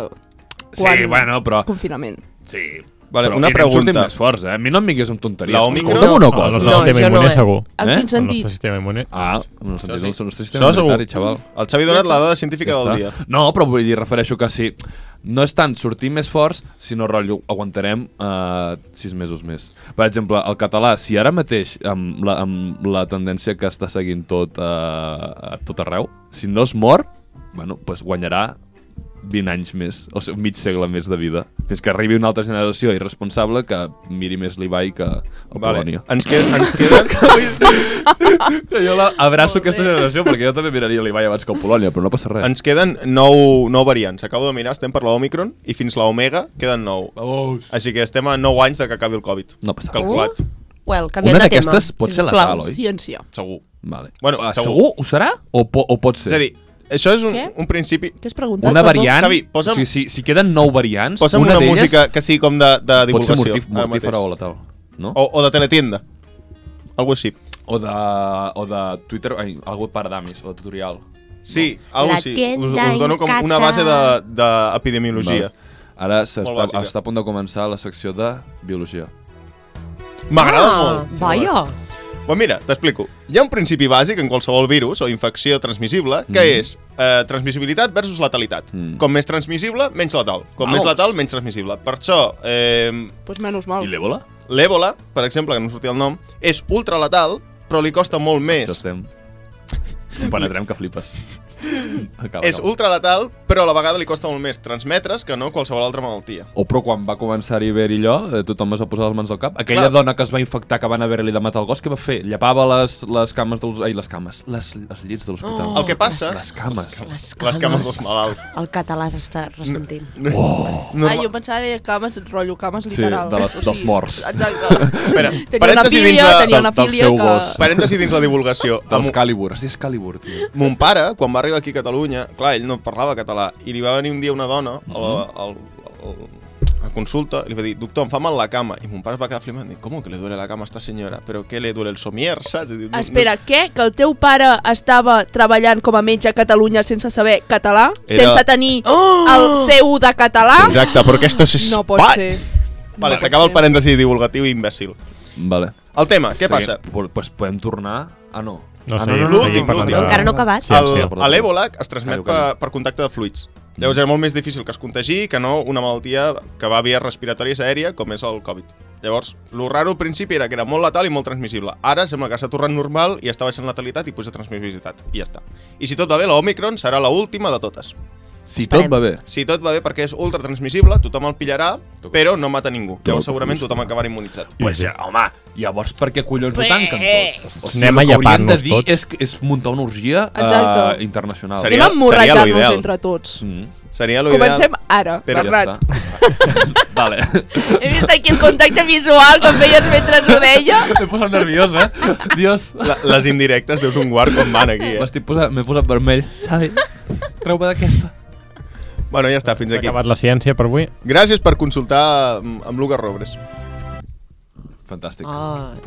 A: Sí, bueno, però...
F: confinament.
A: Sí.
D: Vale,
A: però
D: una
A: mira, em surtin
D: pregunta.
A: més forts, eh? A mi no em vinguis amb tonteries.
D: La Omicron-
A: Escolta'm una
C: No,
A: cosa.
C: el
E: No,
C: nostre sistema
E: això no,
C: immune
E: eh.
C: segur.
F: En
A: Eh?
F: quin
C: El nostre
F: sentit?
C: sistema immune...
A: Ah, no sé, és el nostre sistema
D: Això segur.
A: immunitari, xaval.
D: El Xavi ha donat la dada científica
A: Ja
D: del dia.
A: està. No, però vull dir, refereixo que sí. No és tant sortir més forts, sinó rotllo, aguantarem eh, sis mesos més. Per exemple, el català, si ara mateix, amb la, amb la tendència que està seguint tot, eh, a tot arreu, si no es mor, bueno, pues guanyarà 20 anys més, o sigui, mig segle més de vida. Fins que arribi una altra generació irresponsable que miri més l'Ibai que el
D: Vale.
A: Polònia.
D: Ens,
A: [laughs]
D: qued, ens queden...
A: Jo la- abraço aquesta generació perquè jo també miraria l'Ibai abans que el Polònia, però no passa res.
D: Ens queden 9, 9 variants. Acabo de mirar, estem per la Omicron i fins la Omega queden 9.
A: Vamos.
D: Així que estem a 9 anys de que acabi el Covid.
A: No passa res.
D: Calculat,
E: Uh! Well, canviem
A: Una
E: de tema.
A: d'aquestes pot ser
F: Sisplau,
A: letal, oi?
F: ciència.
D: segur.
A: Vale.
D: Bueno,
A: Ah,
D: segur.
A: segur. ho serà? O, po o pot
D: Sí.
A: ser?
D: És a dir, això és un,
F: Què?
D: un principi...
F: Què has preguntat?
A: una
F: perdó?
A: variant...
D: Xavi, posa'm-
A: o sigui, si, si queden nou variants,
D: Posa'm una, una
A: d'elles
D: música que sigui com de, de
A: pot ser
D: divulgació.
A: mortif,
D: ara
A: mortífera o
D: mateix.
A: letal. No?
D: o, o de teletienda. Algo així.
A: O, de, o de Twitter, ai, algú per Damis, o de tutorial.
D: Sí, algo
E: La
D: així.
E: tienda
D: Us, us dono
E: en
D: com
E: casa.
D: una base d'epidemiologia. De,
A: Ara
D: Molt
A: s'està
D: bàsica.
A: està a punt de començar la secció de biologia.
D: de... M'agrada
E: Ah,
D: molt.
E: Vaja.
D: Pues Doncs mira, t'explico. Hi ha un principi bàsic en qualsevol virus o infecció transmissible que
A: Mhm.
D: és eh, transmissibilitat versus letalitat.
A: Mm.
D: Com més transmissible, menys letal. Com més
A: Vamos.
D: letal, menys transmissible. Per això, eh,
F: Pues menys mal.
A: I l'Ebola?
D: l'èbola, per exemple, que no em sortia el nom, és ultraletal, però li costa molt més.
A: Això estem. Ens compenetrem que
D: [laughs]
A: flipes. Acaba,
D: És
A: acaba.
D: ultraletal, però a la vegada li costa molt més transmetre's que no qualsevol altra malaltia.
A: O però quan va començar a haver-hi allò, eh, tothom es va posar les mans al cap. Aquella
D: Clar.
A: Clar. dona que es va infectar, que van haver-li de matar el gos, què va fer? Llapava les, les cames dels... Ai, les cames. Les, les llits de l'hospital.
D: El que passa-
A: Les, les cames.
E: Les
D: Les cames dels malalts.
E: El català s'està ressentint.
F: Ah, jo pensava que deia cames, rotllo cames
A: Sí,
F: literal.
A: de les- dels morts.
F: Exacte.
D: [laughs] Espera,
F: tenia una
D: parèntesi dins
F: fília,
D: de-
F: tenia
A: del-
F: una
A: del
F: fília
A: seu
F: que...
A: gos.
D: Parèntesi dins la divulgació.
A: Dels
D: Amb-
A: Calibur. Hòstia, és Calibur, tio.
D: Mon pare, quan va arribar aquí a Catalunya, clar, ell no parlava català, i li va venir un dia una dona a, la, al, al, a consulta i li va dir, doctor, em fa mal la cama. I mon pare es va quedar flipant, dic, com que le duele la cama a esta senyora? Però què le duele el somier, saps? I dic, "No, no".
F: Espera, què? Que el teu pare estava treballant com a metge a Catalunya sense saber català?
D: Era-
F: Sense tenir
A: Oh!
F: el C1 de català?
D: Exacte, però aquesta és
F: ah! No pot
D: Espa-
F: ser.
D: Vale,
F: No pot
D: s'acaba el
F: ser.
D: parèntesi divulgatiu i imbècil.
A: Vale.
D: El tema, què passa?
A: Pues, pues podem tornar... Ah, no.
C: No,
A: ah,
C: seguim-
D: seguim parlant de-
E: Encara no ha acabat.
C: Sí, sí,
D: El-
A: perdó.
D: a L'èbola es transmet
A: Callo, callo.
D: per, per contacte de fluids.
C: Mm.
D: Llavors era molt més difícil que es contagi que no una malaltia que va via respiratòries aèria, com és el Covid. Llavors, lo raro al principi era que era molt letal i molt transmissible. Ara sembla que s'ha tornat normal i està baixant letalitat i puja transmissibilitat. I ja està. I si tot va bé, la Omicron serà la última de totes.
A: Si tot va bé.
D: Si tot va bé perquè és ultra transmissible, tothom el pillarà, però no mata ningú. Llavors
A: Toca
D: segurament
A: fusta.
D: tothom acabarà immunitzat.
A: Pues ja, home, llavors per què collons ho tanquen tot? O
C: Anem a
A: el que haurien de
C: llepar-nos
A: dir
C: tots.
A: és, és muntar una orgia uh,
F: Exacte.
A: internacional.
F: Anem a
D: Seria- seria
F: emmorratjar-nos
D: l'ideal.
F: entre tots.
A: Mm,
D: Seria l'ideal.
F: Comencem ara,
D: Però ja
F: Bernat.
A: està. [laughs] vale.
F: He vist aquí el contacte visual que em feies mentre ho deia.
A: M'he posat nerviós, eh? Dios.
D: La, les indirectes deus un guard com van aquí, eh?
A: M'estic posat, m'he posat vermell. Xavi, treu-me d'aquesta.
D: Bueno, ja està, fins
C: S'ha
D: aquí.
C: acabat la ciència per avui.
D: Gràcies per consultar amb, amb Lucas Robres.
F: Eh.
A: Fantàstic.
E: Oh,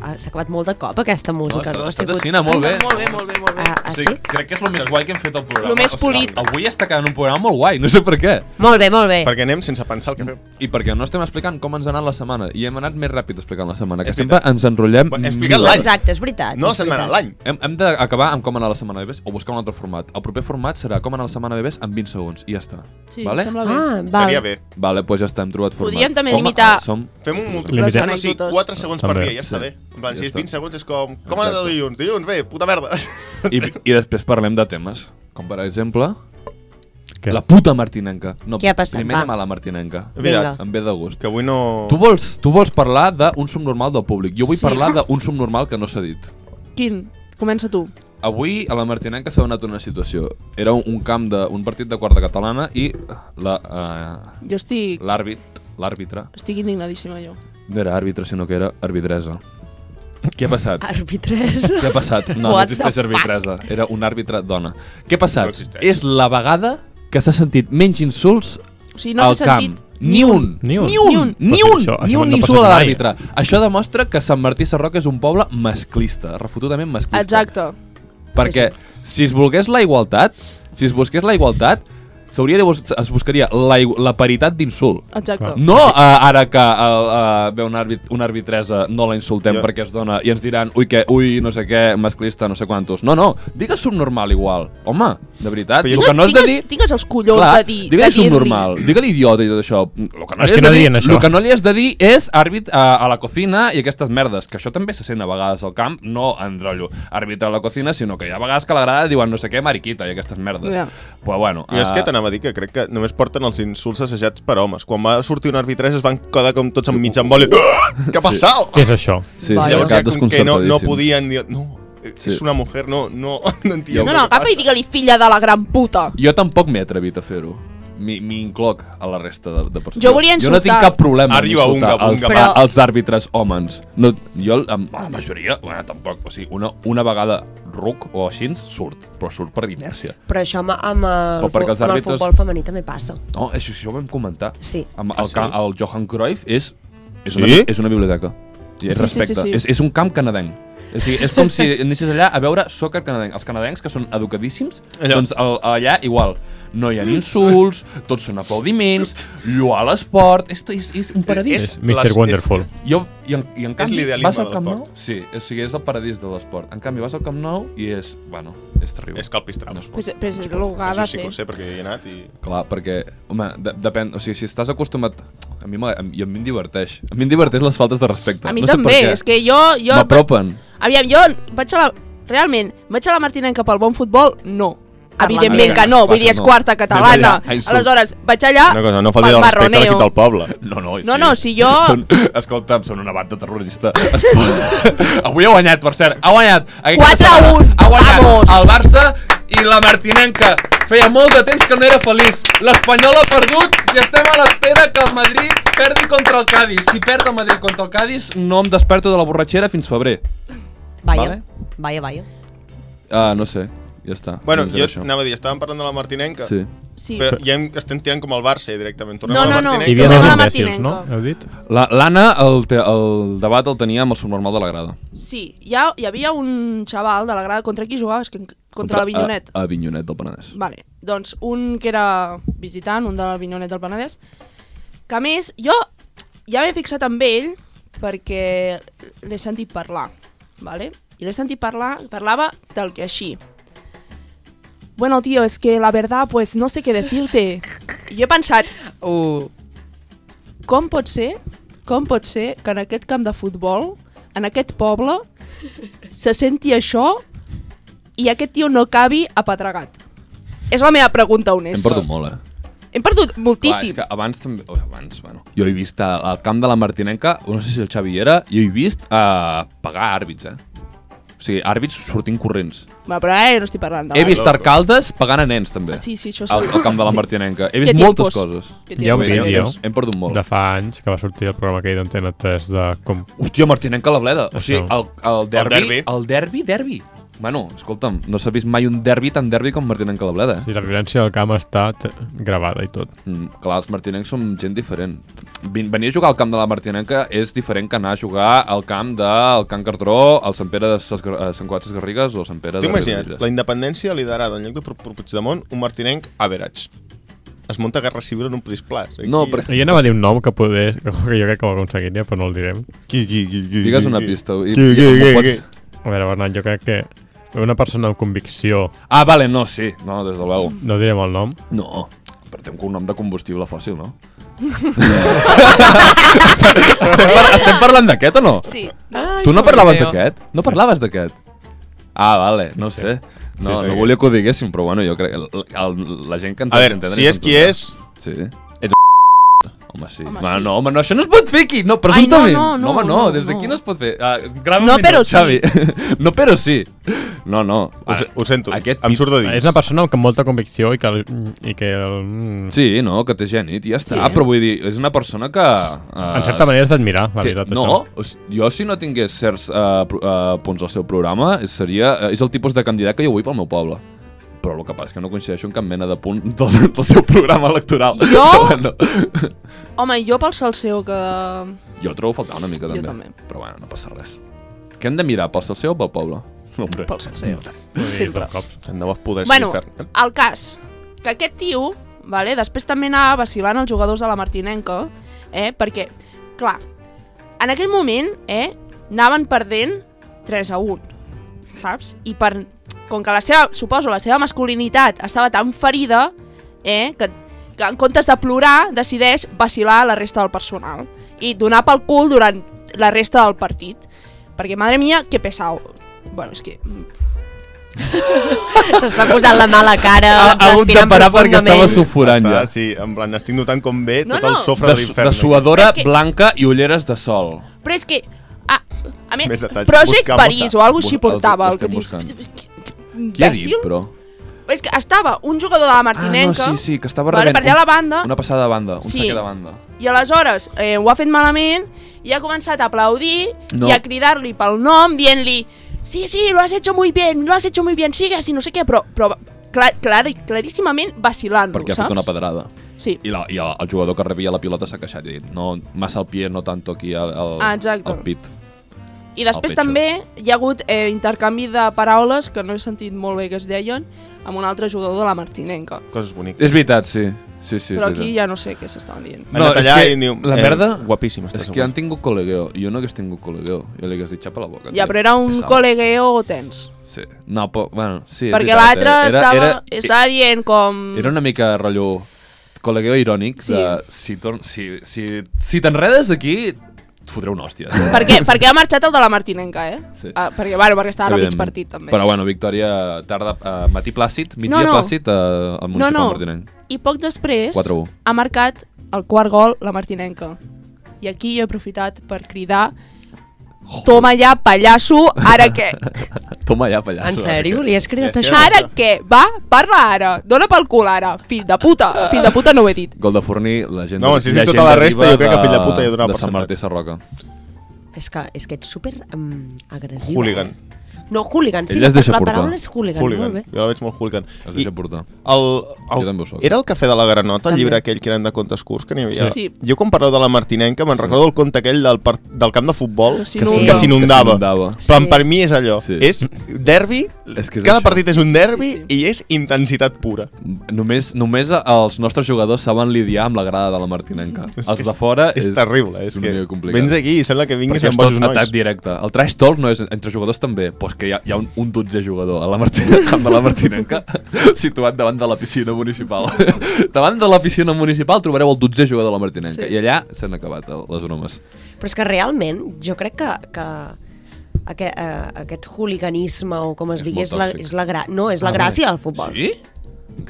E: ah, s'ha acabat molt de cop aquesta música.
A: està,
E: no? Ha
A: està
E: sigut-
A: sigut... molt bé.
F: Molt bé, molt bé, molt bé.
E: Ah, ah,
A: O
E: sí?
A: sigui, crec que és el més guai que hem fet al programa.
F: Lo més polit.
A: avui està quedant un programa molt guai, no sé per què.
E: Molt bé, molt bé.
D: Perquè anem sense pensar el que fem.
F: Mm.
A: I perquè no estem explicant com ens ha anat la setmana. I hem anat més ràpid explicant la setmana, que
D: És
A: sempre
D: veritat.
A: ens enrotllem.
D: Bueno, he explicat
A: mil
D: l'any.
A: hores.
E: Exacte, és veritat.
D: No la
E: és
D: setmana,
E: veritat.
D: l'any.
A: Hem, hem d'acabar amb com anar la setmana bebès o buscar un altre format. El proper format serà com anar la setmana bebès en 20 segons i ja està.
F: Sí,
A: vale?
F: em sembla bé.
E: Ah, val.
D: Estaria bé.
A: Vale, doncs ja està, hem trobat format.
F: Podríem també
A: Som-
F: limitar-
A: som-
D: Fem un
C: Limitem.
D: multiplicant així,
F: Anècdotes.
D: 4 segons per
C: També.
D: dia, ja està
A: Sí.
D: bé. En plan, si
A: Ja
D: és
A: està.
D: 20 segons és com... Com ha anat el
A: Exacte.
D: dilluns? Dilluns, bé, puta merda.
A: I, I després parlem de temes, com per exemple...
C: Què?
A: La puta martinenca. No,
E: Què ha passat?
A: Primer
E: Va.
A: anem a la martinenca.
E: Vinga.
A: Em ve de gust.
D: Que avui no...
A: Tu vols, tu vols parlar d'un subnormal del públic. Jo vull
F: Sí.
E: [laughs]
A: parlar d'un subnormal que no s'ha dit.
F: Quin? Comença tu.
A: Avui a la Martinenca s'ha donat una situació. Era un, un camp d'un partit de quarta catalana i la, eh,
F: Jo estic...
A: l'àrbit, l'àrbitre,
F: Estic indignadíssima, jo.
A: no era àrbitre sinó que era arbitresa. Què ha passat?
E: Arbitres.
A: Què ha passat? No, no
E: What
A: existeix
E: the fuck?
A: arbitresa. Era un àrbitre dona. Què ha passat?
D: No existeix.
A: És la vegada que s'ha sentit menys insults
F: O sigui, no
A: al
F: s'ha sentit...
A: camp Ni un.
C: Ni un.
A: Ni un. Ni
C: Però
A: un.
C: si això-
A: Ni
C: això
A: un
C: no ha
A: insult a
C: passat mai.
A: l'àrbitre. Això demostra que Sant Martí Sarroca és un poble masclista, refutudament masclista.
F: Exacte.
A: Perquè si es volgués la igualtat, si es busqués la igualtat, s'hauria de bus es buscaria la, igu- la paritat d'insult.
F: Exacte.
C: Clar.
A: No eh, ara que el, eh, ve un àrbit, una arbitresa no la insultem
D: Jo-
A: perquè es dona i ens diran ui, que, ui, no sé què, masclista, no sé quantos. No, no, digues subnormal igual. Home, de veritat.
D: Però jo-
A: el que no has de dir...
F: Tingues, tingues els collons
A: Clar,
F: de dir...
A: digue-li
F: de dir-li.
A: subnormal, digue-li idiota i tot això. Lo que no li
C: És
A: has
C: que no
A: de dir,
C: diuen això.
A: lo que no li has de dir és àrbit a, a la cocina i aquestes merdes, que això també se sent a vegades al camp, no en rotllo àrbitre a la cocina, sinó que hi ha vegades que a l'agrada diuen no sé què, mariquita i aquestes merdes.
F: Ja.
A: Però bueno...
D: Jo és
A: ah,
D: que t'anava a dir que crec que només porten els insults assajats per homes. Quan va sortir un arbitrès es van quedar com tots en mig emboli. Ah, Què ha passat?
C: Què és això?
A: Sí, sí, Llavors,
E: Vaja.
D: Llavors
A: ja,
D: ja com que no, no podien dir... No,
A: Sí.
D: és una mujer, no, no, [laughs] no entenc.
F: No, no, agafa i digue-li filla de la gran puta.
A: Jo tampoc m'he atrevit a fer-ho. Mi- M'incloc a la resta de, de persones.
F: Jo volia
A: Jo no tinc
F: insultar.
A: cap problema en
D: Arriba,
A: insultar
D: unga,
A: els,
D: unga,
A: a,
E: va.
A: els àrbitres homes. No, jo, el- amb la majoria, bueno, tampoc. O sigui, una, una vegada ruc o així surt, però surt per inèrcia.
E: [laughs] Però això amb, amb, el,
A: Però perquè els
E: fu- amb el
A: àrbitres-
E: futbol femení també passa.
A: No, Oh, això, això ho vam comentar.
E: Sí.
A: Amb
D: Ah,
A: el,
D: sí?
A: camp, el Johan Cruyff és, és,
D: Sí?
A: una, bi- és una biblioteca. I és
F: Sí, sí, sí,
A: respecte.
F: sí.
A: És, és un camp canadenc. O sigui, és
F: [laughs]
A: com si anessis allà a veure soccer canadenc. Els canadencs, que són educadíssims,
D: Allò.
A: doncs el, allà igual. No hi ha ni insults,
D: [laughs]
A: tots són aplaudiments, lluar l'esport... És, és, és un paradís.
C: És Mr.
D: Les-
C: Wonderful.
A: Jo, i, en, I en canvi,
D: l'idealisme
A: vas al
D: de
A: Camp Nou...
D: l'esport.
A: Sí, o sigui, és el paradís de l'esport. En canvi, vas al Camp Nou i és... Bueno, és terrible.
D: És calpistral.
A: No
D: No
A: es pot.
F: Però, però és el que ha de
D: sí que
F: fer.
D: ho sé perquè hi he anat i...
A: Clar, perquè, home, de depèn, o sigui, si estàs acostumat... A mi, m'agra- a, mi- a mi em diverteix. A mi em diverteix les faltes de respecte.
F: A mi
A: no sé per
F: també,
A: què.
F: és que jo... jo
A: M'apropen.
F: Aviam, jo vaig a la... Realment, vaig a la Martinenca pel bon futbol? No.
D: Ah,
E: Per la
F: Evidentment
A: merda.
F: que no, vull dir, és
A: No.
F: quarta
A: Anem
F: catalana.
A: allà, a insults.
F: Aleshores, vaig allà
D: Una cosa, no falti
F: pel
D: del respecte a
F: marroneo.
D: l'equip del poble.
A: No, no,
F: No, no, si jo-
A: Són, escolta'm, són una banda terrorista. Es pot- [laughs] Avui ha guanyat, per cert. Ha guanyat. Aquest cap de
F: 4 a
A: setmana.
F: 1.
A: Ha guanyat
F: Vamos.
A: el Barça i la Martinenca. Feia molt de temps que no era feliç. L'Espanyol ha perdut i estem a l'espera que el Madrid perdi contra el Cádiz. Si perd el Madrid contra el Cádiz, no em desperto de la borratxera fins febrer.
E: Vaya,
A: Vale.
E: vaya, vaya.
A: Ah, no sé. Ja està.
D: Bueno,
A: Doncs era
D: jo
A: això.
D: anava a dir, estàvem parlant de la Martinenca,
A: Sí.
F: Sí.
D: però ja hem, estem tirant com el Barça eh, directament. Tornem
F: No,
D: a la
F: no, no.
D: Martinenca.
C: Hi havia
F: Tornem a
C: dos
F: la
C: imbècils, no?
F: Martinenko.
C: Heu dit?
A: La- L'Anna, el, te- el debat el tenia amb el subnormal de la grada.
F: Sí, hi, ha, hi havia un xaval de la grada contra qui jugaves? Que, contra, contra la Vinyonet.
A: A, a Vinyonet del Penedès.
F: Vale, doncs un que era visitant, un de la Vinyonet del Penedès, que a més, jo ja m'he fixat amb ell perquè l'he sentit parlar, vale? i l'he sentit parlar, parlava del que així. Bueno, tío, es que la verdad, pues no sé qué decirte. I jo he pensat,
E: Uh.
F: com pot ser, com pot ser que en aquest camp de futbol, en aquest poble, se senti això i aquest tio no acabi apatregat? És la meva pregunta honesta.
A: Hem perdut molt, eh?
F: Hem perdut
A: Clar,
F: moltíssim.
A: és que abans també... O, abans, bueno, jo he vist a- al camp de la Martinenca, no sé si el Xavi hi era, jo he vist a pagar àrbits, eh? O sigui, àrbits sortint corrents.
F: Va, però ara ja no estic parlant de
A: he vist
D: loco.
A: arcaldes pagant a nens, també.
F: Ah, sí, sí, això
A: al,
F: segur.
A: al camp de la
F: Sí.
A: Martinenca. He
F: Que
A: vist
F: tinc
A: moltes
F: pors.
A: coses.
F: Que tinc
C: Hi ha un
F: pors.
A: Vull dir,
C: vídeo.
A: hem- Hem perdut molt.
C: De fa anys que va sortir el programa aquell d'Antena 3 de com...
A: Hòstia, Martinenca la bleda. O sigui, el, el derbi...
D: derbi.
A: El derbi, derbi. Bueno, escolta'm, no s'ha vist mai un derbi tan derbi com Martinenca la bleda, eh?
C: Si la violència del camp està t- gravada i tot.
A: Mm, clar, els martinencs som gent diferent. Vin- Venir a jugar al camp de la Martinenca és diferent que anar a jugar al camp del Can Cartró, al Sant Pere de Ses, eh, Sant Cuat Ses Garrigues o Sant Pere de
D: T'ho imagina't,
A: Riudebitlles.
D: la independència liderada en lloc de Pu- Pu- Puigdemont, un martinenc average. Es munta guerra civil en un pris plat. Aquí...
A: No, perquè-
C: Jo anava a dir un nom que, poder, que jo crec que ho aconseguiria, però no el direm.
D: Qui, qui, qui, qui,
A: Digues
D: qui,
A: una
D: qui.
A: pista. I,
D: Qui,
A: i
D: qui,
A: com ho
D: qui,
A: pots-
D: qui.
C: A veure, Bernat, jo crec que una persona amb convicció,
A: Ah, vale, no, sí. No, des de luego.
C: no direm el nom,
A: No. Però té un cognom de combustible fòssil, no? estem, par estem parlant d'aquest o no?
F: Sí.
A: tu no parlaves d'aquest? No parlaves d'aquest? Ah, vale, no ho
C: Sí,
A: sé. No,
C: sí.
A: no volia que ho diguéssim, però bueno, jo crec que el, el, la gent que ens
D: A
A: ha
D: veure,
A: d'entendre
D: si és qui
A: entendrà.
D: és,
A: Sí.
D: Ets
A: [laughs] Home, sí.
F: Home,
A: Home, no,
F: sí.
A: no, home, no, això no es pot fer aquí. No, presumptament.
F: no, no,
A: home, no,
F: no,
A: des
F: no.
A: d'aquí no. es pot fer. Uh, grava
F: No,
A: un
F: però
A: minut, Xavi. [laughs] no, però sí. No, no.
D: ho, se- ho sento,
A: Aquest
D: em
A: pit-
D: surt de dins.
C: és una persona amb molta convicció i que... El, i que el, mm,
A: Sí, no, que té genit, ja està. Ah,
F: Sí.
A: Però vull dir, és una persona que... Uh,
C: en certa manera és d'admirar, la
A: Té,
C: veritat,
A: no, o s- jo si no tingués eh, certs uh, uh, punts al seu programa, seria, eh, és el tipus de candidat que jo vull pel meu poble. però el que passa és que no coincideixo en cap mena de punt del, del seu programa electoral.
F: Jo?
A: [laughs] Però bueno,
F: Home, jo pel salseo que...
A: jo trobo a faltar una mica
F: Jo
A: també.
F: també.
A: Però bueno, no passa res. Què hem de mirar, pel seu o pel poble? Hombre.
F: pel salseo.
C: Sí, dos cops.
D: Hem de poder
F: Bueno,
D: ser infern.
F: el cas, que aquest tio, vale, després també anava vacilant els jugadors de la Martinenca, eh, perquè, clar, en aquell moment, eh, anaven perdent 3 a 1, saps? I per, com que la seva, suposo, la seva masculinitat estava tan ferida, eh, que, que en comptes de plorar, decideix vacilar la resta del personal i donar pel cul durant la resta del partit. Perquè, madre mia, que pesau. Bueno, és que
E: S'està posant la mala cara,
A: Ha, ha
E: està
A: hagut de
E: respirant
A: parar perquè estava
E: profundament.
A: suforant ja.
D: Està, sí, en plan, estic notant com ve
F: No,
D: tot el
F: no.
D: sofre
A: De,
D: de
A: su-
D: l'infern.
C: eh?
A: de suadora
F: És que-
A: blanca i ulleres de sol.
F: Però és que... A, a més,
D: Més detalls.
F: Project
D: Busquem-ho,
F: París
D: sa-
F: o alguna així
A: bu-
F: portava.
A: els-
F: El que
A: estem
F: dius.
A: buscant. Què ha dit,
F: Imbècil.
A: però?
F: És que estava un jugador de la Martinenca
A: Ah, no, sí, sí, que estava
F: vale,
A: rebent
F: per allà a la banda
A: una passada de banda, un
F: Sí.
A: saque de banda.
F: i aleshores eh, ho ha fet malament i ha començat a aplaudir
A: No.
F: i a cridar-li pel nom dient-li sí, sí, lo has hecho muy bien, lo has hecho muy bien, sigues i no sé què, però, però clar, clar, claríssimament vacilant-lo,
A: Perquè ha
F: saps?
A: fet una pedrada.
F: Sí,
A: I, la, i el, el jugador que rebia la pilota s'ha queixat i ha dit no, massa al pie, no tanto aquí al, al,
F: Ah, exacte.
A: al pit.
F: I després
A: El pitjor.
F: també hi ha hagut eh, intercanvi de paraules que no he sentit molt bé que es deien amb un altre jugador de la Martinenca.
D: Coses boniques.
A: És veritat, sí. sí, sí és
F: Però aquí
A: veritat.
F: ja no sé què s'estaven dient.
D: Han anat allà i diu,
A: la
D: eh,
A: merda
D: guapíssim, estàs
A: és que
D: avui.
A: han tingut col·legueo i jo no hagués tingut col·legueo jo li hagués dit xapa la boca
F: Ja,
A: tio,
F: però era un
A: pesau.
F: col·legueo tens.
A: sí. no, però, bueno, sí, és
F: perquè
A: veritat,
F: l'altre
A: eh?
F: estava, era, estava dient com...
A: era una mica rotllo col·legueo irònic sí.
F: Sí.
A: de si, torn, si, si, si t'enredes aquí et fotré una hòstia
F: Perquè, perquè ha marxat el de la Martinenca, eh?
A: Sí.
F: Ah, perquè, bueno,
A: [laughs]
F: perquè estava a mig
A: Evidentment.
F: partit, també.
A: però bueno, victòria tarda, eh, matí plàcid migdia
F: No, no.
A: plàcid eh, al
F: no,
A: municipal
F: no.
A: Martinenc
F: I poc després
A: 4-1.
F: ha marcat el quart gol la Martinenca. I aquí jo he aprofitat per cridar Toma ja, pallasso, ara què?
A: [laughs] toma ja pallasso eh.
E: En sèrio? Li has cridat
D: Ja,
E: això?
D: ja.
F: Ara què? Va, parla ara. Dona pel cul ara. Fill de puta. Fill de puta no ho he dit.
A: Gol de Forní, la gent...
D: No, si has dit
A: gent
D: tota la
A: arriba
D: resta, jo crec que
A: de-
D: fill de puta ja donava
A: De Sant
D: percentatge.
A: Martí Sarroca.
E: És que, és que ets super um, agressiva. eh?
D: Hooligan.
E: No, hooligan. Sí,
A: Ell
E: la,
A: es deixa
E: la
A: portar.
E: paraula és hooligan.
D: Hooligan.
E: Molt bé.
D: Jo la veig molt hooligan.
A: Es
D: I
A: deixa portar.
D: el,
A: Jo
D: el,
A: també ho soc.
D: era el cafè de la Granota, el
E: També.
D: llibre aquell que eren de contes curts que n'hi havia?
F: Sí. Sí.
D: Jo quan parleu de la Martinenca me'n recordo el conte aquell del, par- del camp de futbol
F: Que
D: que
F: s'inunda.
D: que s'inundava.
A: s'inundava.
E: Sí.
D: Plan, per mi és allò.
A: Sí.
D: És derbi,
A: És que és
D: cada
A: això.
D: partit és un derbi
F: sí,
D: i és intensitat pura.
A: Només, només els nostres jugadors saben lidiar amb la grada de la Martinenca.
D: És
A: els
D: que
A: de fora
D: és, terrible.
A: és
D: És,
A: una
D: que
A: mica complicat.
D: vens aquí i sembla que vinguis
A: Perquè és
D: amb
A: tot
D: bojos
A: atac
D: nois.
A: directe. El trash talk no és entre jugadors també, però és que hi ha, hi ha un, un 12 jugador a la [laughs] Martinenca, de la Martinenca [laughs] situat davant de la piscina municipal. [laughs] davant de la piscina municipal trobareu el 12 jugador de la Martinenca i allà s'han acabat el- les bromes.
E: Però és que realment jo crec que, que aquest, eh, aquest hooliganisme o com es
A: És
E: digui
A: molt
E: és la,
A: tòxic. Ah,
E: és la gra... no, és la gràcia del futbol.
A: Sí?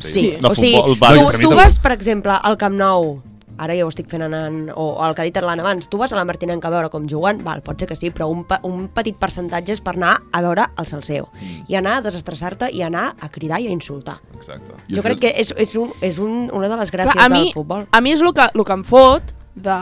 E: Sí,
D: De
E: o sigui,
D: futbol, va,
E: tu,
D: camisa
E: tu
D: de
E: vas, per exemple, al Camp Nou, ara ja ho estic fent anant, o el que ha dit Erlan abans, tu vas a la Martinenca a veure com juguen, val, pot ser que sí, però un, pe- un petit percentatge és per anar a veure el salseo,
A: Mm.
E: i anar a desestressar-te, i anar a cridar i a insultar.
A: Exacte.
E: Jo, crec que és, és, un, és un, una de les gràcies
F: Clar, a mi,
E: del futbol.
F: a mi és el que, el que em fot de,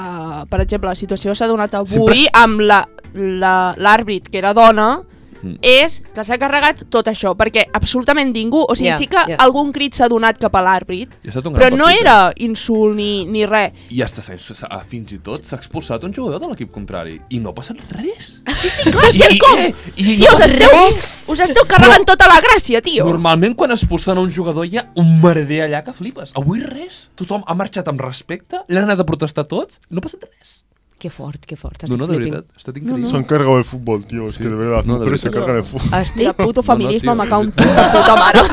F: per exemple, la situació que s'ha donat avui
A: Sempre-
F: amb la- la- l'àrbit, la, que era dona,
A: Mm.
F: és que s'ha carregat tot això, perquè absolutament ningú, o sigui,
E: Ja,
F: sí que
E: ja.
F: algun crit s'ha donat cap a l'àrbit,
A: I ha estat un gran
F: però no
A: partit, eh?
F: era insult ni, ni res.
A: I hasta s'ha- s'ha- ah, fins i tot s'ha expulsat un jugador de l'equip contrari i no ha passat res.
F: Sí, sí, clar, [laughs] I,
A: [laughs]
F: és
A: I-
F: com...
A: eh, i-
F: tio, us esteu,
E: res.
F: us esteu carregant tota la gràcia, tio.
A: Normalment quan expulsen a un jugador hi ha un merder allà que flipes. Avui res. Tothom ha marxat amb respecte, l'han anat a protestar tots, no ha passat res.
E: Que fort, que fort.
A: No, no, de
E: flipping.
A: veritat, ha estat increïble.
D: Se han cargado el fútbol, tío. Es que de verdad,
A: No, de
D: mujeres se
A: verdad.
D: cargan el
E: Estic...
D: fútbol.
F: Hòstia,
A: No,
F: puto
A: no,
F: feminisme,
A: tio.
F: me cago en puta, puta mare.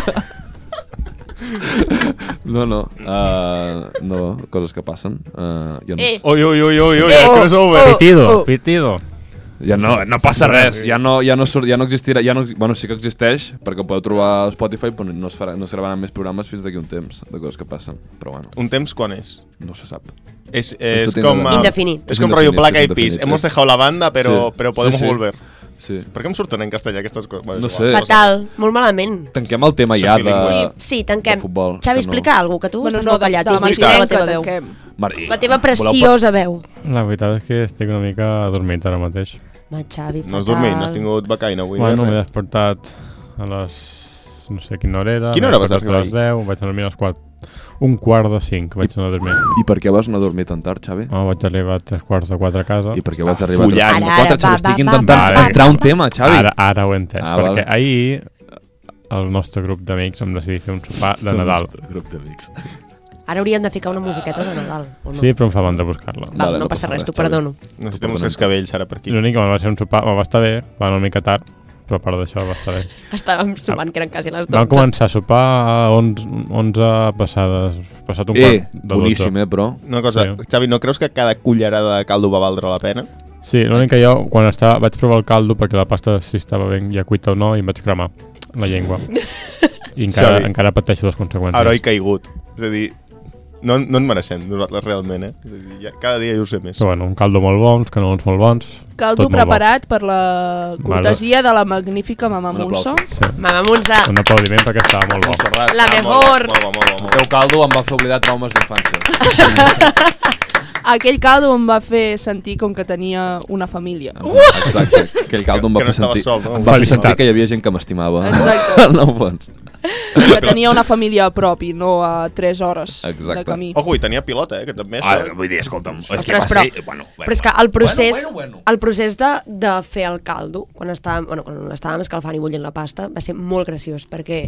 A: No,
F: [laughs]
A: no, uh, no, coses que passen. Uh, ja, no,
F: Eh,
D: Oye, oye, oye, oye, oye,
F: Eh, oh,
D: crossover.
F: oh.
C: Pitido, pitido.
A: ja no, no passa res, ja no, ja no, surt, ja no existirà, ja no, bueno, sí que existeix, perquè ho podeu trobar a Spotify, però no es, farà, no es gravaran més programes fins d'aquí un temps, de coses que passen, però bueno,
D: Un temps quan és?
A: no se sap.
D: Es,
A: Esto
D: es
A: tiene
D: como...
A: nada.
E: Indefinit.
D: Es como
A: Es
D: rollo
A: indefinit,
D: Black
A: es
D: Eyed Peas.
A: indefinit.
D: Hemos
A: Es-
D: dejado la banda, pero,
A: Sí.
D: pero podemos
A: Sí, sí.
D: volver.
A: Sí.
D: ¿Por qué me surten en castellà aquestes coses? Bueno,
A: No
D: és
A: sé.
D: igual.
E: Fatal, molt malament.
A: Tanquem el tema ja de...
D: Bilingüe.
E: Sí, tanquem.
A: De futbol, que no.
E: Xavi, explica alguna cosa, que tu
F: bueno,
E: estàs
F: no,
E: molt
F: de, de
E: callat.
F: la
E: i explica
F: Martinenca,
E: la teva veu.
F: tanquem.
A: Mar-
E: La teva preciosa veu.
C: La veritat és que estic una mica adormit ara mateix.
E: Ma, Xavi,
D: No has
E: fatal.
D: dormit, no has tingut becaina avui.
C: bueno,
D: eh?
C: m'he despertat a les no sé quina hora era.
D: Quina hora vas
C: despertar
D: arribar
C: A les 10, vaig anar a dormir a les 4. Un quart de 5 vaig anar a dormir.
A: I per què vas anar a dormir tan tard, Xavi?
C: Oh, vaig arribar a 3 quarts de 4 a casa.
A: I per què vas arribar
D: follant.
A: a 4?
E: Ara, ara,
A: Xavi,
E: va,
A: estic
E: va,
A: intentant
C: va,
A: fer
C: va.
A: entrar un tema, Xavi.
C: Ara, ara ho he entès,
A: Ah,
C: ah, perquè
A: vale.
C: vale. ahir eh, el nostre grup d'amics vam decidir fer un sopar de Nadal.
A: Grup d'amics.
E: Ara hauríem de ficar una musiqueta de Nadal, o no?
C: Sí, però em fa mandra buscar-la.
E: Val,
A: Vale,
E: no, passa res, t'ho
A: Xavi.
E: perdono. [laughs]
D: Necessitem uns cabells ara per aquí.
C: L'únic que me'n va ser un sopar, me'n va estar bé, va anar una mica tard, però a part d'això va estar bé.
E: Estàvem sumant que eren quasi les 12.
C: Vam començar a sopar a 11, 11 passades, passat un
A: Eh,
C: quart de 12.
A: boníssim, eh, però...
D: Una cosa,
C: Sí.
D: sí. Xavi, no creus que cada cullerada de caldo va valdre la pena?
C: Sí, l'únic que jo, quan estava, vaig provar el caldo, perquè la pasta si estava ben ja cuita o no, i em vaig cremar la llengua. I encara,
D: Xavi.
C: encara pateixo les conseqüències.
D: Heroi caigut. És a dir, no, no en mereixem nosaltres realment, eh? És a dir, ja, cada dia jo ho sé més.
C: Però bueno, un caldo molt bon, uns canons molt bons.
F: Caldo
C: tot molt
F: preparat per la cortesia de la magnífica mama
A: Un aplauso.
F: Musso.
C: Bo. Sí.
E: Mama Montse,
C: Un aplaudiment perquè estava molt bo.
D: Montserrat,
E: La
D: ah, molt
E: mejor.
D: bo, Molt bo, molt bo,
A: El
D: molt bo.
A: teu caldo em va fer oblidar traumes d'infància.
F: Aquell caldo em va fer sentir com que tenia una família.
A: Ah. Exacte. Aquell caldo em va
D: Que no
A: fer sentir...
D: estava sol, no?
A: Em va fer
C: Felicitat.
A: sentir que hi havia gent que m'estimava.
F: Exacte.
A: [laughs] No ho fons.
F: Que tenia una família a prop i no a 3 hores
A: Exacte.
F: de camí.
D: Ojo, i tenia pilota, eh? Que també això...
A: vull dir, escolta'm, és
E: Ostres, però, bueno, però és que el procés, bueno, bueno,
A: bueno.
E: bueno. El procés de, de fer el caldo, quan estàvem, bueno, quan estàvem escalfant i bullint la pasta, va ser molt graciós, perquè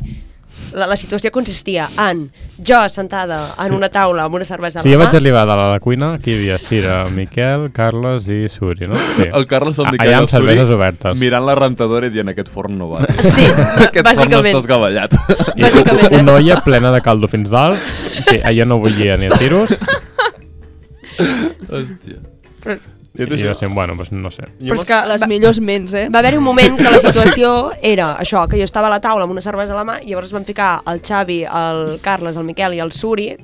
E: la, la situació consistia en jo sentada en sí. una taula amb una cervesa
C: Sí, jo
E: a la
C: vaig
E: mà,
C: arribar de la, la cuina, aquí hi havia Cira, Miquel, Carles i Suri, no? Sí.
A: El Carles el
C: A-
A: Miquel
C: Allà
A: i
C: amb
A: el Suri
C: cerveses obertes.
A: mirant la rentadora i dient aquest forn no va.
E: Sí,
A: [laughs] aquest forn no
E: bàsicament.
A: està
E: [laughs]
A: esgavellat.
C: I
E: bàsicament, eh?
C: una olla plena de caldo fins dalt, que allò no volia ni a tiros,
A: Hòstia.
D: Jo t'ho
C: i jo
D: juro.
C: sent, bueno, doncs no sé.
D: Jo
E: però és que
F: Les
E: va,
F: millors ments, eh?
E: va haver-hi un
A: [laughs]
E: moment que la situació era això, que jo estava a la taula amb una cervesa a la mà, i llavors es van ficar el Xavi, el Carles, el Miquel i el Suri,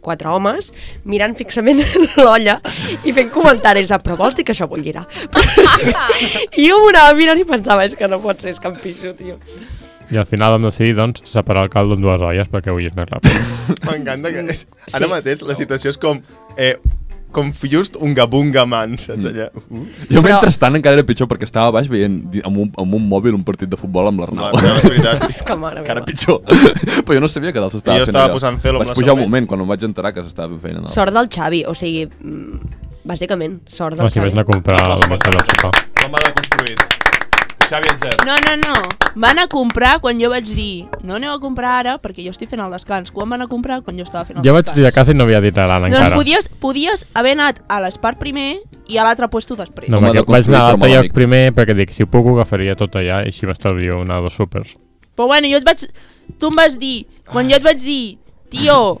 E: quatre homes, mirant fixament [laughs] l'olla i fent comentaris de però vols dir que això bullirà? [laughs] I jo m'ho anava mirant i pensava és que no pot ser, és que em pixo, tio.
C: I al final vam decidir, doncs, separar el caldo en dues olles perquè ho és més ràpid.
D: M'encanta que... Ara mateix la situació és com... Eh, com just un gabunga man,
A: Mm.
D: saps allà? Uh,
A: Jo mentrestant encara era pitjor perquè estava baix veient di- amb un, amb un mòbil un partit de futbol amb
D: no,
A: l'Arnau.
D: no, és veritat.
E: És que mare
A: Encara [laughs]
E: meva.
A: pitjor. Però jo no sabia que dalt s'estava
D: Jo
A: fent
D: estava
A: allò.
D: posant cel amb la
A: Vaig pujar un
D: cervell.
A: moment quan em vaig enterar que s'estava fent feina.
E: Sort del Xavi, o sigui, mm, bàsicament, sort del
C: No, si
E: Xavi.
C: vaig anar a comprar la Marcela al sopar.
A: Com m'ha deconstruït? Xavi
C: Eh.
A: Encert.
F: No, no, no. Van a comprar quan jo vaig dir no aneu a comprar ara perquè jo estic fent el descans. Quan van a comprar? Quan jo estava fent el
C: Jo vaig
F: descans.
C: dir a casa i no havia dit l'aran
F: Doncs
C: encara.
F: podies, podies haver anat a l'espart primer i a l'altre puesto després.
C: No,
A: Home,
C: perquè
A: de
C: vaig
A: construir, però
C: anar a l'altre
A: molt
C: lloc
A: amic.
C: primer perquè dic, si puc ho agafaria tot allà i així m'estalvio una o dos súpers.
F: Però bueno, jo et vaig... Tu em vas dir, quan jo et vaig dir, tio,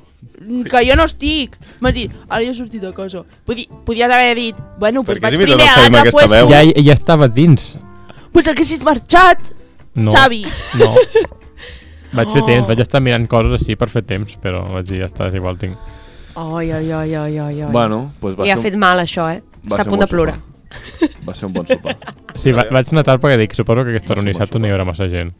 F: mm, que jo no estic, m'has dit, ara jo he sortit de casa. Podi, podies haver dit, bueno, doncs
D: Perquè
F: vaig
D: és imita
F: primer
D: la
F: a
D: Selma
F: l'altre
D: aquesta
F: puesto.
D: veu.
C: Ja, ja estava dins.
F: Pues el que si has marxat,
C: No.
F: Xavi. [laughs]
C: No. Vaig fer
F: Oh.
C: temps, vaig estar mirant coses així per fer temps, però vaig dir, ja està, és igual, tinc...
E: Ai, ai, ai, ai, ai, ai.
A: Bueno, doncs va
E: I ha
A: ser
E: fet mal això, eh?
A: va
E: Està
A: ser
E: a
A: un
E: punt de
A: bon
E: plorar.
A: sopar. Va ser un bon sopar.
C: Sí, va, vaig anar tard perquè dic, suposo que aquesta
A: No
C: hora un
A: sé,
C: dissabte no hi haurà massa gent.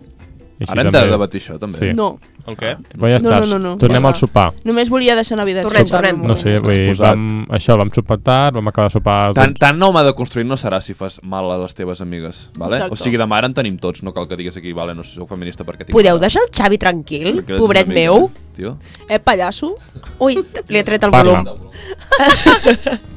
C: I així
A: Ara hem de
C: també-
A: debatir això, també.
C: Sí.
F: No,
D: El què?
C: Però ja
F: No,
C: està,
F: no, no, no,
C: tornem
F: ja
C: al
F: està.
C: sopar.
F: només volia deixar en evidència.
E: Tornem,
F: per un
E: tornem.
F: moment.
C: No sé,
A: Estàs
C: vull dir,
A: posat.
C: vam, això, vam sopar tard, vam acabar de sopar...
A: Tant, tant no home de construir no serà si fas mal a les teves amigues, vale?
F: Exacte.
A: O sigui, demà ara en tenim tots, no cal que digues aquí, vale, no sóc feminista perquè tinc...
E: Podeu deixar el Xavi tranquil,
A: perquè ets
E: pobret
A: una amiga,
E: meu?
A: Tio.
F: Eh, pallasso?
E: Ui, li he tret el
C: Parla.
E: volum.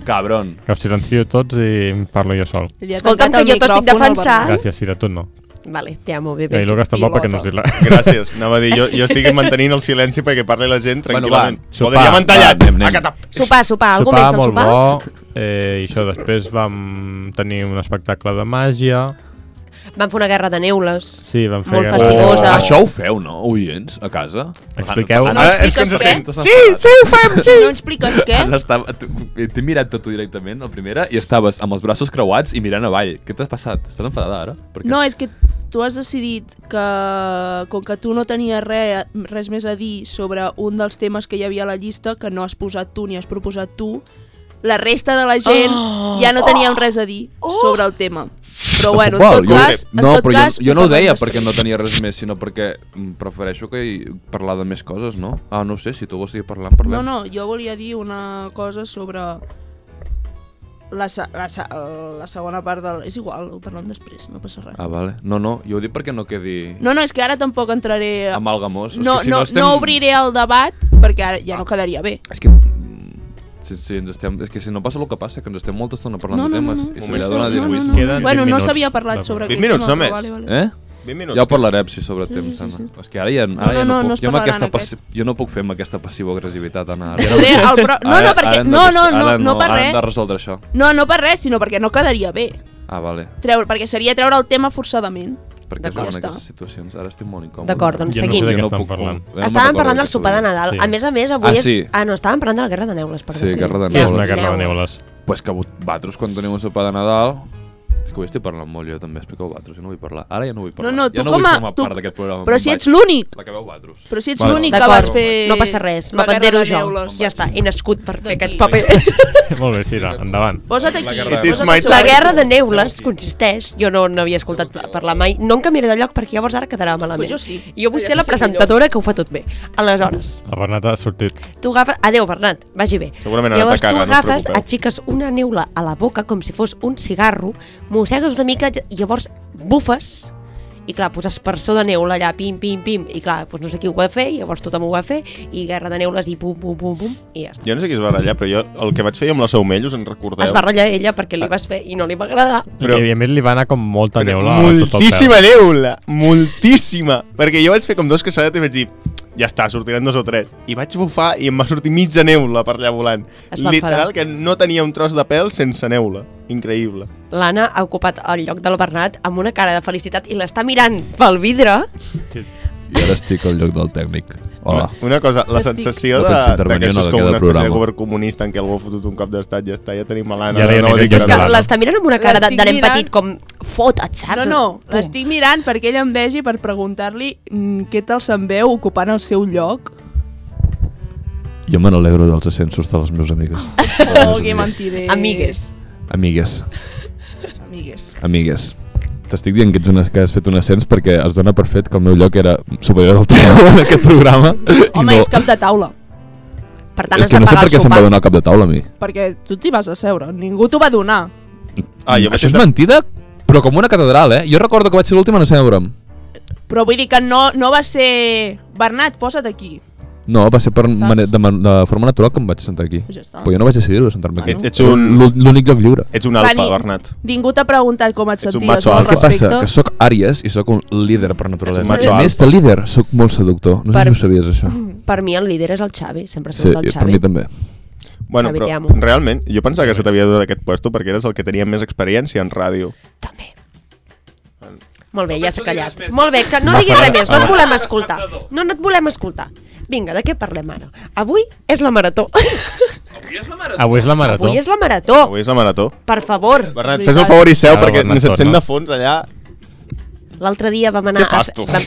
A: Cabron.
C: Que us silencio tots i em parlo jo sol.
F: Li ha
E: Escolta'm,
F: tancat
E: que
F: el
E: jo
F: micròfon
E: t'estic
F: al
E: defensant.
F: Bernat.
C: Gràcies, Sira, tu no. Eh,
E: Vale, te amo, bebé.
C: I Lucas tampoc perquè no us dic res.
D: Gràcies, anava a dir, jo, jo estic mantenint el silenci perquè parli la gent
A: Bueno, va,
D: tranquil·lament. Bueno,
C: sopar.
D: Podria m'han tallat.
A: Va, anem,
D: Va,
A: anem.
E: Sopar, sopar,
C: [laughs]
E: algú
C: sopar
E: més del
C: molt
E: sopar?
C: bo, eh, i això, després vam tenir un espectacle de màgia,
E: Van fer una guerra de neules.
C: sí, vam fer...
E: Molt
C: guerra-
E: fastigosa.
A: Oh, això ho feu, no, oients, a casa?
C: Expliqueu.
A: Anna,
F: No
D: Ara és que ens
F: expliques
D: sent...
F: què?
D: Sí, sí, ho fem, sí!
F: No expliques què?
E: [laughs]
A: Anna estava... tu- T'he mirat a tu directament, la primera, i estaves amb els braços creuats i mirant avall. Què t'ha passat? Estàs enfadada ara? Per què?
F: No, és que tu has decidit que, com que tu no tenies re, res més a dir sobre un dels temes que hi havia a la llista, que no has posat tu ni has proposat tu, la resta de la gent oh, ja no teníem oh, res a dir sobre el tema. Però bueno, en tot
A: jo,
F: cas... en
A: no,
F: tot
A: però
F: cas,
A: jo, jo no ho
F: parlem
A: deia
F: després.
A: perquè no tenia res més, sinó perquè mm, prefereixo que hi parlar de més coses, no? Ah, no ho sé, si tu vols seguir parlant, parlem.
F: No, no, jo volia dir una cosa sobre la, se- la, se- la segona part del... És igual, ho parlem després, no passa res.
A: Ah, vale. No, no, jo ho dic perquè no quedi no.
F: No, no, és que ara tampoc entraré...
A: amalgamós.
F: No,
A: és que si
F: no,
A: no, estem...
F: no obriré el debat perquè ara ja no quedaria bé.
A: És que... mm, Sí, sí, ens estem... És que si no passa el que passa, que ens estem molta estona parlant
F: No,
A: de
F: no, no,
A: temes.
F: no.
A: I se
D: Moment,
A: li ha donat
D: no,
A: dir
D: no,
A: "Ui,
F: no.
C: Queden
F: Bueno,
C: 20
F: no
C: minuts.
F: s'havia parlat sobre
D: 20
F: aquest
D: minuts
F: tema,
D: només.
F: però Vale, vale.
A: Eh?
D: 20 minuts.
A: Ja ho parlarem, sí, sobre
F: Sí,
A: temps,
F: sí, sí,
A: Anna.
F: sí.
A: És que ara ja, ara
F: No, no,
A: ja
F: no,
A: no, puc.
F: no es
A: jo, amb
F: parlaran
A: aquesta
F: aquest.
A: passi- jo no puc fer amb aquesta passivo-agressivitat, Anna. Ara.
F: Poder el pro... No,
A: Ara-
F: no,
A: ara
F: perquè...
A: hem de
F: No,
A: res-
F: no, no,
A: ara
F: no per
A: Ara hem de
F: res.
A: resoldre això.
F: No, no per res, sinó perquè no quedaria bé.
A: Ah, vale.
F: Treure, perquè seria treure el tema forçadament.
A: Perquè
F: D'acord.
A: són
F: Ja està.
A: aquestes situacions. Ara estic molt incòmode.
E: D'acord, doncs
C: Jo no sé
E: seguim.
C: de què
A: Jo
C: estan
A: puc-
C: parlant.
A: Ja no me'n
E: Estàvem
A: recordo
E: parlant del
A: què
E: sopar de
A: estava
E: Nadal.
C: Sí.
E: A més a més, avui
A: Ah, sí.
E: és... Ah, no, estàvem parlant de la Guerra de Neules, perdó.
A: Sí, Guerra de
C: Què és
A: Neules.
C: una guerra de neules?
A: dient. Pues que vot- vosaltres quan teniu un sopar de Nadal... És que avui estic parlant molt jo també, expliqueu vosaltres, jo no vull parlar. Ara ja no vull parlar.
F: No, no,
A: ja
F: tu
A: no
F: com
A: vull
F: a-
A: formar
F: tu-
A: part d'aquest programa.
F: Però
A: me'n
F: si
A: vaig.
F: ets l'únic,
A: La que veu vosaltres.
F: però si ets
D: Vale.
F: l'únic que vas
E: D'acord,
F: fer...
E: no passa res,
F: la guerra
E: m'apendero
F: de
E: jo.
F: neules.
E: Ja està, he nascut per fer
F: D'aquí.
E: aquest paper.
C: Molt bé, Sira, endavant.
F: Posa't
A: La
F: aquí.
A: guerra de
F: posa't
A: neules.
D: It is my
F: al seu
E: La
F: lloc.
E: guerra de neules consisteix... Jo no n'havia escoltat pla- parlar mai. No em canviaré de lloc perquè llavors ara quedarà malament.
F: Pues jo sí.
E: Jo vull
F: Ja
E: ser la
F: sé si és
E: presentadora que ho fa tot bé. Aleshores,
C: La Bernat ha sortit.
E: tu agafes... Adéu, Bernat, vagi bé.
D: Segurament ara
E: Llavors tu
D: t'acaba, no us
E: agafes,
D: preocupeu.
E: et fiques una neula a la boca com si fos un cigarro, mossegues una mica i llavors bufes i clar, posar espersó de neula allà, pim, pim, pim, i clar, doncs no sé qui ho va fer, i llavors tothom ho va fer, i guerra de neules, i pum, pum, pum, pum, i ja està.
D: Jo no sé qui es va barallar, però jo el que vaig fer jo amb la Saumell, us en recordeu?
E: Es va ratllar ella perquè
A: Ah.
E: li vas fer i no li va agradar.
D: Però-
C: Però... I a més li va anar com molta
D: Però
C: neula a tot el
D: Moltíssima
C: peu.
D: neula, moltíssima. Perquè jo vaig fer com dos cassolets i vaig dir ja està, sortiran dos o tres. I vaig bufar i em va sortir mitja neula per allà volant.
E: Es va
D: Literal,
E: enfadar.
D: que no tenia un tros de pèl sense neula. Increïble.
E: L'Anna ha ocupat el lloc del Bernat amb una cara de felicitat i l'està mirant pel vidre.
A: I ara estic al lloc del tècnic. Hola.
D: Una cosa, la
F: Estic-
D: sensació
A: No
D: de,
A: penso
D: de
A: intervenir
D: que
A: en
D: això és
A: el
D: com
A: que
D: una
A: queda
D: espècie de
A: programa.
D: govern comunista en què algú ha fotut un cop d'estat, ja està, ja tenim a l'Anna.
C: Ja li
D: no
C: aniré
D: dic
C: jo
E: És que
C: Bernat.
E: l'està mirant amb una cara de, de nen
F: L'estic
E: petit, com fota't, saps?
F: No, no,
E: Pum.
F: l'estic mirant perquè ell em vegi per preguntar-li mm, què tal se'n veu ocupant el seu lloc.
A: Jo me n'alegro dels ascensos de les meus
F: [laughs]
A: amigues.
F: Oh, que mentider.
E: Amigues.
A: Amigues,
F: Amigues.
A: amigues. T'estic dient que, ets una, que has fet un ascens perquè es dona per fet que el meu lloc era superior al teu [laughs] en aquest programa.
F: Home,
A: i no,
F: és cap de taula.
E: Per tant,
A: és que no sé per què se'm va donar cap de taula a mi.
F: Perquè tu t'hi vas a seure, ningú t'ho va donar.
D: Ah, jo vaig
A: Això és
D: entrar-
A: mentida, però com una catedral, eh? Jo recordo que vaig ser l'última a asseure'm.
F: Però vull dir que no, no va ser... Bernat, posa't aquí.
A: No, va ser per
F: Saps?
A: mane- de, man- de forma natural que em vaig sentar aquí.
F: Pues ja està.
A: Però jo no vaig decidir-ho, sentar-me aquí.
D: Ets- ets un-
A: L'ú- L'únic lloc lliure.
D: Ets un
F: Va
D: alfa,
F: dir-
D: Bernat.
F: Ningú t'ha preguntat com et
D: Ets un
F: senties.
D: macho
F: no,
A: Saps
F: al
A: què passa?
F: respecte.
A: Que sóc àries i sóc un líder per naturalesa.
D: Ets un macho
A: a més
D: alfa.
A: de líder, sóc molt seductor. No
E: Per-
A: sé si ho sabies, això.
F: Mm,
E: Per mi el líder és el Xavi, sempre
A: Sí,
E: surt el
A: per
E: Xavi.
A: mi també.
D: Bueno,
E: Xavi,
D: però
E: t'amo.
D: realment, jo pensava que se t'havia donat aquest puesto perquè eres el que tenia més experiència en ràdio.
E: També. Molt bé, ja s'ha callat. Molt bé, que
C: Va,
E: no diguis
C: fora.
E: res més, no
C: Va.
E: et volem escoltar. No, no et volem escoltar. Vinga, de què parlem ara? Avui és la marató.
C: Avui és la marató.
E: Avui és la marató,
D: Avui és la marató.
E: per favor.
D: Bernat,
F: Veritat.
D: fes el favor i seu,
C: Ara,
D: perquè
C: Ah, Bernat,
D: se't sent
C: torna.
D: de fons allà.
E: L'altre dia vam anar...
D: Què fas, tu?
E: Vam...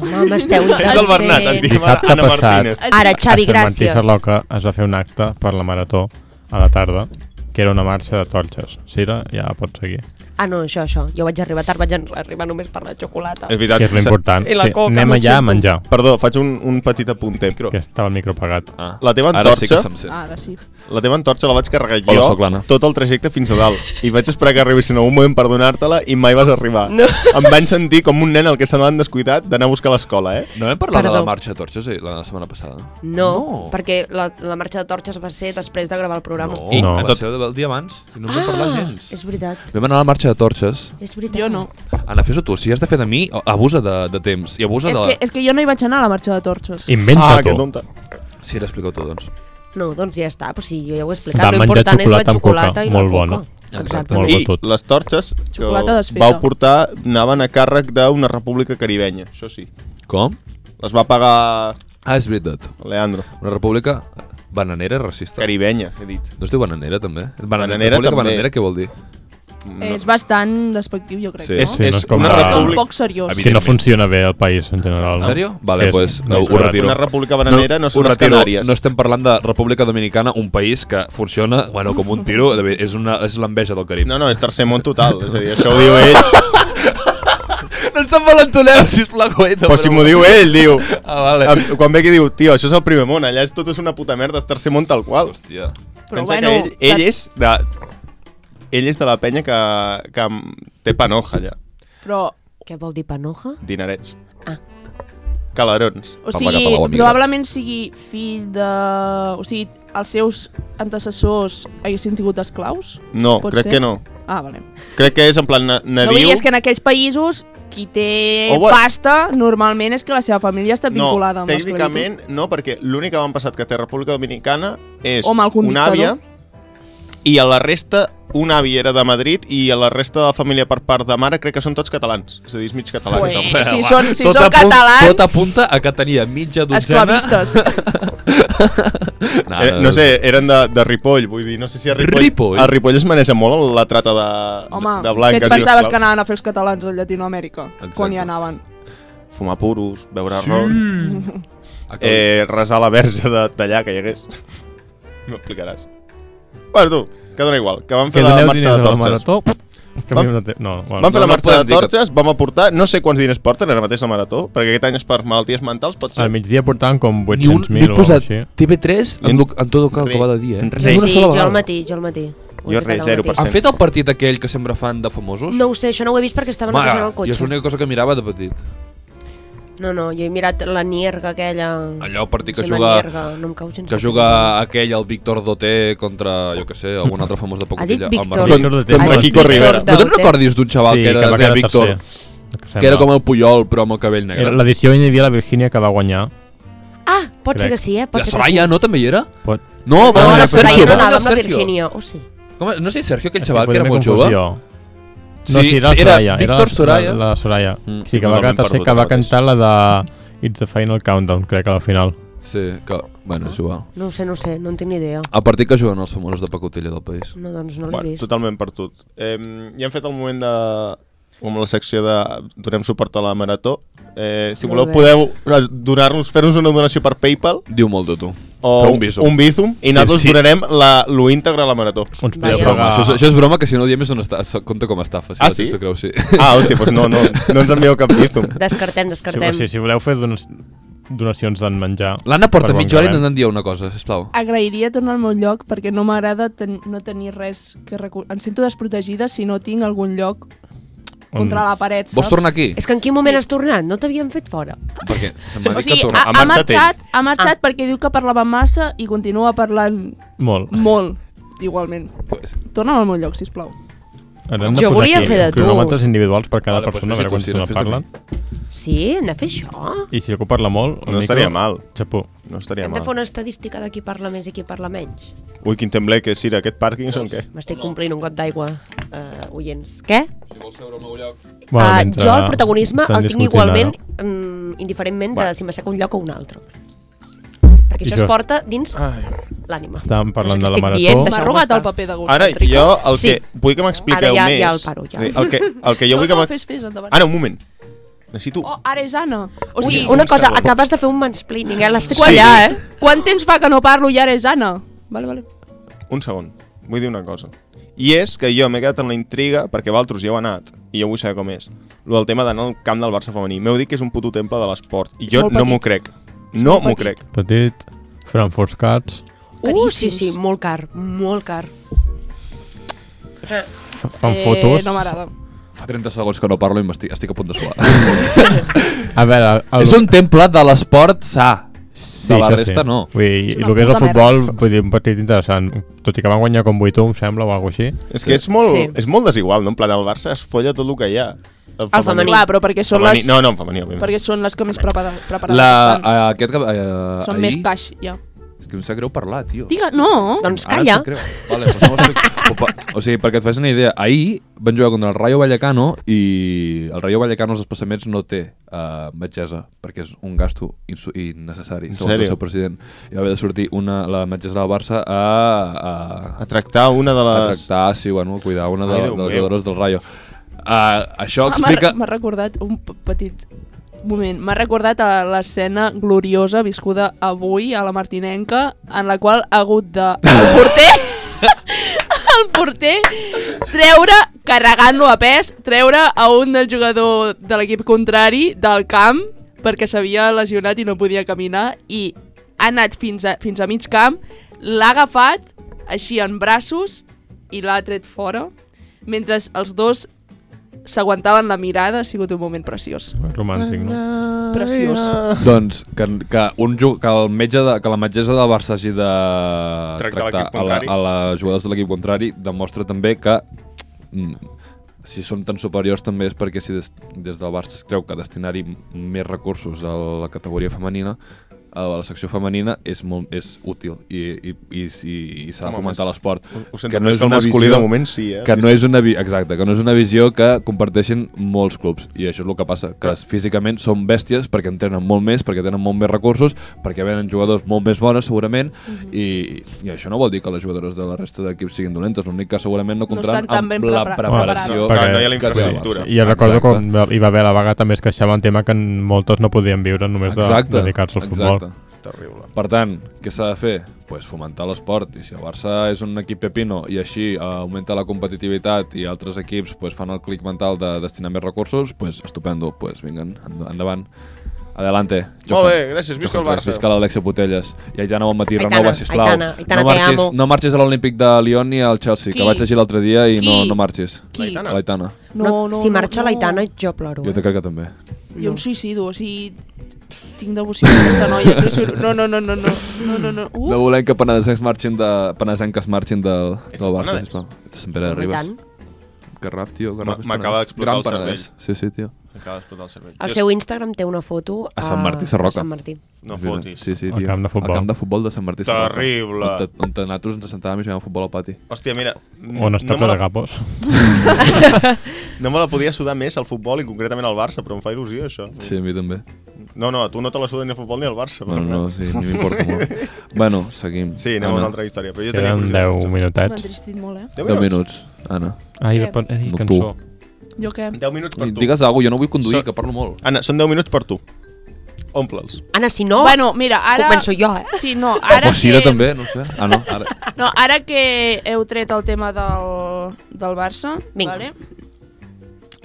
E: Home, home, esteu
D: Ets el Bernat, et
E: intel·ligents.
D: diem
C: Dissabte
D: Anna
C: passat.
D: Martínez.
E: Ara, Xavi,
C: a Sant Martí
E: gràcies.
C: Sarloca es va fer un acte per la marató a la tarda, que era una marxa de torxes. Sira, ja pots seguir.
E: Ah, no, això, això. Jo vaig arribar tard, vaig en- arribar només per la xocolata.
D: És
C: Que
D: veritat.
C: és l'important.
E: I la coca,
C: anem
E: m'ho
C: allà a
E: sento.
C: menjar,
D: Perdó, faig un, un petit apunter.
C: que estava el micro pagat.
A: Ah.
D: La teva
A: Ara sí que
D: antorxa-
A: se'm sent.
F: Ara sí.
D: La teva antorxa la vaig carregar
A: Hola,
D: jo
A: sóc l'Anna.
D: tot el trajecte fins a dalt i vaig esperar que arribessin en algun moment per donar-te-la i mai vas arribar.
E: No.
D: Em van sentir com un nen al que se n'han descuidat d'anar a buscar a l'escola, eh?
A: No vam parlar de
E: Perdó.
A: la marxa de torxes eh, la setmana passada?
E: No,
A: No.
E: perquè la, la marxa de torxes va ser després de gravar el programa.
A: No,
C: No.
A: va ser el dia abans i no en vam parlar
F: Ah,
A: gens.
E: És veritat,
A: Vam anar a la marxa de torxes.
E: és veritat.
F: Jo no.
A: Anna, fes-ho tu. Si has de fer de mi, o- abusa de, de temps. I abusa
F: És
A: de...
F: que, és que jo no hi vaig anar a la marxa de torxos.
C: Inventa
D: Ah, que
C: tu.
D: tonta.
A: Sí, l'explico tu, doncs.
E: No, doncs ja està, però sí, jo ja ho he explicat.
C: Va
E: Lo
C: menjar
E: important és la
C: xocolata amb
E: xocolata
C: coca,
E: i
C: molt
E: la coca.
C: bona.
E: Exacte.
C: Molt
D: I
C: bé tot.
D: les torxes que
F: Xocolata desfeta.
D: vau portar anaven a càrrec d'una república caribenya, això sí.
A: Com?
D: Les va pagar
A: Ah, és veritat.
D: Leandro.
A: Una república bananera racista.
D: Caribenya, he dit.
A: No es diu bananera, també? Bananera,
D: Bananera
A: república
D: també.
A: bananera, què vol dir?
F: No. És bastant despectiu, jo crec,
A: Sí.
F: no?
D: És,
C: Sí, no
D: és
C: és com
D: una
C: la-
F: És com
D: república...
F: poc seriós.
A: Evident.
C: Que no funciona bé el país en
A: En
C: general. No?
A: sèrio? Vale,
C: Que és-
A: pues,
C: no
A: ho-
C: és
A: ho
C: barat.
A: retiro.
D: Una república bananera no, no són
A: ho
D: les
A: retiro.
D: Canàries.
A: No estem parlant de República Dominicana, un país que funciona, bueno, com un tiro, de bé, és, una, és l'enveja del Carib.
D: No, no, és tercer món total. És a dir,
A: [laughs]
D: això ho diu ell.
A: no ens envalentoneu, sisplau, coeta.
D: Però si m'ho diu ell, diu...
A: Ah, vale.
D: Em- Quan ve aquí diu, tio, això és el primer món, allà és tot és una puta merda, és tercer món tal qual.
A: Hòstia.
F: Però
D: Pensa
F: bueno,
D: que ell, ell
F: que-
D: és de... ell és de la penya que, que té panoja allà,
F: Però,
E: Què vol dir panoja?
D: dinerets.
E: Ah.
D: Calarons.
F: o
A: Papa
F: sigui,
A: Català, amiga.
F: probablement sigui fill de... O sigui, els seus antecessors haguessin tingut esclaus?
D: No,
F: Pot
D: crec
F: ser?
D: que no.
F: Ah, vale.
D: Crec que és en plan na-
F: No
D: nadiu.
F: vull dir, és que en aquells països qui té
D: O
F: oh,
D: bo-
F: pasta normalment és que la seva família està
D: no,
F: vinculada amb
D: tècnicament no, perquè l'únic avantpassat que té República Dominicana és
F: Home, algun
D: una àvia
F: dictador.
D: i a la resta un avi era de Madrid i a la resta de la família per part de mare crec que són tots catalans, és a dir, és mig català.
F: Ué.
D: tothom.
F: Si
A: Va,
F: són- si
A: tot
F: són
A: apunta-
F: catalans-
A: Tot apunta a que tenia mitja dotzena...
F: Esclavistes.
A: No,
D: Eh, no sé, eren de, de Ripoll, vull dir, no sé si a Ripoll...
A: Ripoll?
D: A Ripoll es maneja molt la trata de,
F: Home,
D: de
F: què
D: blanques.
F: et
D: i
F: pensaves
D: esclaus.
F: que anaven a fer els catalans a Llatinoamèrica?
A: Exacte.
F: Quan hi anaven?
D: Fumar puros, beure sí. ron,
A: Eh,
D: eh, resar la verge de- d'allà que hi hagués. [laughs] M'ho explicaràs. Bueno, tu, que dona igual, que van
C: Que
D: fer la
C: doneu
D: marxa
C: diners a
D: de
C: la
D: torxes.
C: marató... Que
D: Vam-
C: vam, no, té... no, bueno,
D: Vam
A: no
D: fer la marxa
A: podem
D: de
A: dir que-
D: torxes, vam aportar... No sé quants diners porten ara mateix la marató, perquè aquest any és per malalties mentals, pot ser.
C: al migdia portaven com
A: ni un, ni un
C: 800.000 o alguna
A: posat
C: així.
A: TV3 en, lo- en tot el que
D: Res.
A: acaba de dir, eh?
D: Res.
A: Ni una
E: sí,
A: sola
E: jo
A: vegada.
E: al matí, jo al matí. Ho he
D: Jo
E: fet
D: res,
E: al
D: zero
E: matí.
D: per cent.
A: Han fet el partit aquell que sempre fan de famosos?
E: No ho sé, això no ho he vist perquè estaven
A: Mare,
E: repassant el
A: jo és
E: cotxe. Mm.
A: l'única cosa que mirava de petit.
E: No, no, jo he mirat la nierga aquella...
A: Allò, el partit que
E: Sí, la
A: juga...
E: Nierga, no em cau gens
A: Que
E: la
A: juga aquell, el Víctor Doté contra, jo que sé, algun altre famós de
E: Ha dit
A: Pocotilla.
E: Víctor.
C: Víctor de Tecno.
D: Contra Quico Rivera.
A: No te'n recordis d'un xaval que era,
C: va
A: que
C: quedar
A: era Víctor?
C: tercer.
A: Que era com el Puyol, però amb el cabell negre.
C: Era L'edició on hi havia la Virgínia que va guanyar.
E: Ah, pot
C: Crec. Ah,
E: ser que sí, eh? Pot
A: La
E: ser que
A: Soraya, no, també hi era?
C: Pot...
A: No, va
E: No,
A: guanyar
E: la
A: Sergio,
E: Soraya no
A: va guanyar
E: anava amb la
A: Sergio.
E: Virgínia, o sí?
A: Com, no sé si Sergio, aquell
C: Estic
A: xaval que era
C: posant-me
A: molt jove.
C: confusió. No, sí, era la Soraya.
A: Víctor
C: era la,
A: Soraya.
C: La, la Soraya.
A: Mm.
C: Sí, que va
D: Totalment
C: cantar,
D: perdut
C: que va
D: ara mateix.
C: cantar la de It's the Final Countdown, crec, a la final.
A: Sí, que, bueno, és igual.
E: No ho sé, no ho sé, no en tinc ni idea.
A: El partit que juguen els famosos de pacotilla del país.
E: No, doncs no l'he
D: Bueno,
E: vist.
D: totalment per tot. Eh, ja hem fet el moment de com la secció de donem suport a la marató. Eh, si voleu
E: Molt bé.
D: podeu eh, donar-nos, fer-nos una donació per Paypal
A: Diu molt de tu.
D: o
A: Fer un bizum.
D: un bizum i
A: Sí,
D: nosaltres
A: sí.
D: donarem la, lo íntegre a la marató.
C: Uns
E: Vaja.
C: podeu
A: Però, home,
C: pagar...
A: això, és- això, és broma, que si no ho diem és una estafa, compta com a estafa. Si
D: Ah,
A: la gent
D: sí?
A: s'ho Creu, sí?
D: Ah, hòstia, doncs no, no, no ens envieu cap bizum.
E: Descartem,
C: Si,
E: descartem.
C: sí, si voleu fer dones- donacions d'en menjar...
A: [laughs] L'Anna porta
C: per bon
A: mitja hora
C: cabell.
A: intentant dir una cosa, sisplau.
F: Ah, Agrairia tornar al meu lloc perquè no m'agrada ten no tenir res que recu... Em sento desprotegida si no tinc algun lloc contra la paret, saps?
A: Vols tornar aquí?
E: És que en quin moment has tornat? No t'havien fet fora.
A: Perquè se'm va dir
F: O
A: que
F: sigui, ah.
A: torna.
F: ha,
D: Ha
F: ha
D: marxat
F: marxat, ha marxat perquè diu que parlava massa i continua parlant
C: Molt.
F: molt, igualment.
A: Pues,
F: Torna'm al meu lloc, sisplau.
C: Ara hem de
E: Jo
C: posar
E: volia
C: aquí
E: fer de tu.
C: cronòmetres individuals per cada
A: Vale, doncs
C: persona, a
A: fes-ho
C: veure
A: tu,
C: quants
A: sí,
C: se
A: no,
C: la
A: fes-ho
C: parlen.
E: Sí, hem de fer això.
C: I si algú parla molt... al micro,
D: No estaria mal,
C: Xapó.
D: no estaria
E: Hem de fer
D: mal.
E: una estadística de qui parla més i qui parla menys.
D: Ui, quin temblé que és, Sira, aquest pàrquing són què?
E: M'estic complint un got d'aigua, uh, oients. Què?
A: si vols seure al meu lloc...
C: Bueno,
E: Ah,
C: mentre
E: jo el protagonisme
C: estan
E: el tinc
C: discutint
E: igualment,
C: ara.
E: mm, indiferentment
D: Va.
E: de si m'asseca un lloc o un altre. Perquè
C: I
E: això
C: jo-
E: es porta dins
D: Ai.
E: l'ànima.
C: Estàvem parlant
E: No
C: de
E: sé què
C: la
E: estic
C: marató.
E: dient,
F: M'ha
E: deixeu-me
F: arrugat
E: estar.
F: el paper de gust.
D: Ara,
F: Enrique.
D: jo el
E: Sí.
D: que vull que m'expliqueu
E: Ara ja-
D: més...
E: ja el paro, ja.
D: El que, el que
F: [laughs]
D: jo
F: No,
D: vull que Ah,
F: no,
D: m'expliqueu...
F: fes, fes, endavant.
D: Ara, un moment. Necessito...
F: Oh, ara és Anna. O
E: Ui,
F: sigui,
E: una cosa,
D: segon.
E: acabes de fer un mansplaining, eh? L'has fet
D: Sí.
E: allà, eh?
F: quant temps fa que no parlo i ara és Anna? Vale, vale.
D: Un segon, vull dir una cosa. I és que jo m'he quedat en la intriga perquè Valtros ja heu anat i jo vull saber com és. Lo del tema d'anar al camp del Barça femení. M'heu dit que és un puto temple de l'esport i jo
F: molt
D: no
F: petit.
D: m'ho crec. No m'ho crec.
C: Petit, Frankfurt Cats,
E: Uh,
F: Caríssims.
E: sí, sí, molt car, molt car.
C: fan fotos...
F: Eh, No m'agrada.
A: Fa 30 segons que no parlo i m'estic- estic a punt de [laughs] suar.
C: A veure... El...
A: És un temple de l'esport sa.
C: Sí,
A: de la
C: això
A: resta, no.
C: Vull dir, i
F: una
C: el que és el
F: puta
C: futbol, vull dir, un partit interessant. Tot i que van guanyar com 8 em sembla, o alguna cosa així.
D: És que és molt,
E: Sí.
D: és molt desigual, no? En plan, el Barça es folla tot el que hi ha. El
E: femení.
F: Clar, però perquè són
D: femení.
F: les,
D: No, no, en femení, òbviament.
F: perquè són les que més prepara- preparades
A: La,
F: estan.
A: eh, aquest que... Eh,
F: Són
A: ahir-
F: més caix, ja.
A: És que em sap greu parlar, tio.
F: Digue, no!
E: Doncs
A: Ara em
E: calla.
A: sap greu. Vale, doncs no ho explico. o, pa- o sigui, perquè et fas una idea, ahir van jugar contra el Rayo Vallecano i el Rayo Vallecano els despassaments no té uh, metgessa, perquè és un gasto insu- innecessari,
D: En
A: segons el
D: sèrio?
A: seu president. I va haver de sortir una, la metgessa del Barça a, a,
D: A tractar una de
A: a
D: les...
A: tractar, sí, bueno, a cuidar una de,
D: Ai,
A: de
D: Déu
A: les
D: meu.
A: jugadores del Rayo. Uh, això
F: Ah, M'ha
A: explica...
F: m'ha recordat un p- petit moment. M'ha recordat a l'escena gloriosa viscuda avui a la Martinenca, en la qual ha hagut de... El porter... [laughs] el porter treure, carregant-lo a pes, treure a un del jugador de l'equip contrari del camp perquè s'havia lesionat i no podia caminar i ha anat fins a, fins a mig camp, l'ha agafat així en braços i l'ha tret fora mentre els dos s'aguantaven la mirada, ha sigut un moment preciós.
C: Romàntic, no?
F: Preciós.
A: Doncs que, que, un, ju- que, el metge de, que la metgessa del Barça hagi de
D: Tractar l'equip
A: a, la,
D: contrari.
A: a les jugadors de l'equip contrari demostra també que mm, si són tan superiors també és perquè si des, des del Barça es creu que destinar-hi m- més recursos a la categoria femenina a la secció femenina és, molt, és útil i, i, i, i, i s'ha de
D: Home,
A: fomentar
D: més-
A: l'esport.
D: Ho sento, que no és que el masculí de moment sí, eh?
A: que no és una vi- exacte, que no és una visió que comparteixen molts clubs i això és el que passa, que es- físicament són bèsties perquè entrenen molt més, perquè tenen molt més recursos, perquè venen jugadors molt més bones segurament i, i això no vol dir que les jugadores de la resta d'equips siguin dolentes, l'únic que segurament no comptaran
F: estan tan ben
A: amb la
F: prepara-
A: preparació.
D: preparades. Clar, no hi ha
A: que té el
D: la
A: Barça.
D: infraestructura. Exacte.
C: I jo recordo
A: Exacte.
C: com hi va haver la vaga també es queixava un tema que en- moltes no podien viure només de
A: Exacte,
C: dedicar-se al futbol.
A: exacte.
D: Terrible.
A: Per tant, què s'ha de fer? Pues fomentar l'esport, i si el Barça és un equip pepino i així eh, augmenta la competitivitat i altres equips pues, fan el clic mental de destinar més recursos, pues estupendo, pues vinguen, end- endavant. Adelante.
D: Molt bé, gràcies, visca el Barça.
A: Visca l'Alexia Putellas. I Aitana, bon matí,
E: Aitana,
A: renova, sisplau.
E: Aitana, Aitana,
A: no,
E: te
A: marxis,
E: amo.
A: no marxis a l'Olímpic de Lyon ni al Chelsea, que
F: Qui?
A: vaig llegir l'altre dia i no,
F: Qui?
A: no marxis.
F: Qui?
D: L'Aitana?
A: L'Aitana.
E: No, no, si marxa
F: no.
E: l'Aitana, jo ploro.
A: Jo te
E: Eh?
A: crec que també.
F: Jo em suïcido, o sigui, tinc devoció per aquesta noia, t'ho juro. No, no, no, no, no, no, no, no.
A: No
F: Uh,
A: volem que penedesencs marxin de... penedesenques marxin del,
D: És
A: del
D: el
A: Barça,
D: Penedès?
A: sisplau. Sant Pere de
E: I
A: Ribes.
E: tant.
A: Garraf, tio,
D: Garraf és m'acaba Penedès. d'explotar Gran el cervell. Penedès.
A: Sí, sí, tio.
D: Acaba d'explotar el cervell.
E: Al seu Instagram té una foto
A: A Sant Martí Sarroca.
E: A Sant Martí.
D: No fotis.
A: Sí, sí,
C: Al
A: tio.
C: camp de futbol.
A: Al camp de futbol de Sant Martí. Sarroca.
D: Terrible.
A: On, te- on te- nosaltres ens sentàvem i jugàvem a futbol al pati.
D: Hòstia, mira...
C: On està
D: no
C: ple de
D: me la-
C: capos.
D: No me la podia sudar més al futbol i concretament al Barça, però em fa il·lusió, això.
A: Sí, a mi també.
D: No, no, tu no te la suda ni al futbol ni al Barça.
A: Bueno, no, Ah, sí, ni m'importa molt.
D: [laughs]
A: bueno, seguim.
D: Sí, anem a
A: Anna,
D: una altra història, però jo tenia
C: Queden 10
F: M'ha
C: minutets. Ah,
F: entristit molt, eh?
D: Deu
A: Deu
D: minuts.
A: minuts, Anna.
C: Ai,
F: Què?
C: per, ai
A: No,
C: eh, cançó.
F: Jo què?
D: 10 minuts per tu.
A: Digues alguna cosa, jo no vull conduir,
D: Sóc-
A: que parlo molt.
D: Anna, són 10 minuts per tu. Omple'ls.
E: Anna, si no, bueno,
F: Bueno, mira, ara...
E: començo jo, eh?
F: Sí, no, ara
A: o Sira
F: que...
A: també, no sé. Ah, no,
F: [laughs]
A: ara.
F: No, ara que heu tret el tema del, del Barça,
E: Vinga.
F: Vale?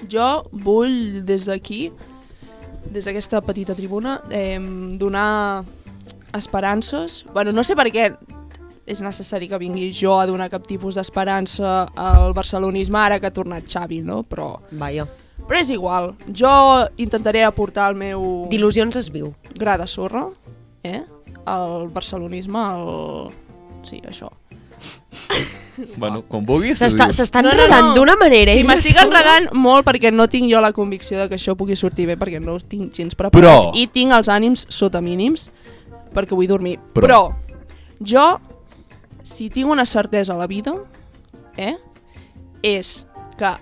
F: jo vull des d'aquí, des d'aquesta petita tribuna, eh, donar esperances. bueno, no sé per què és necessari que vingui jo a donar cap tipus d'esperança al barcelonisme ara que ha tornat Xavi, no? Però,
E: Va, jo.
F: però és igual. Jo intentaré aportar el meu
E: D'il·lusions es viu.
F: gra de sorra, eh? El barcelonisme, el... Sí, això.
A: bueno, com vulguis.
E: S'està
A: ho dius.
E: s'està
F: No, no,
E: enredant
F: no.
E: d'una manera. eh?
F: Sí,
E: ella
F: m'estic
E: sola.
F: enredant molt perquè no tinc jo la convicció de que això pugui sortir bé perquè no us tinc gens preparat
A: Però-
F: i tinc els ànims sota mínims perquè vull dormir.
A: Però-
F: Però, jo, si tinc una certesa a la vida, eh, és que...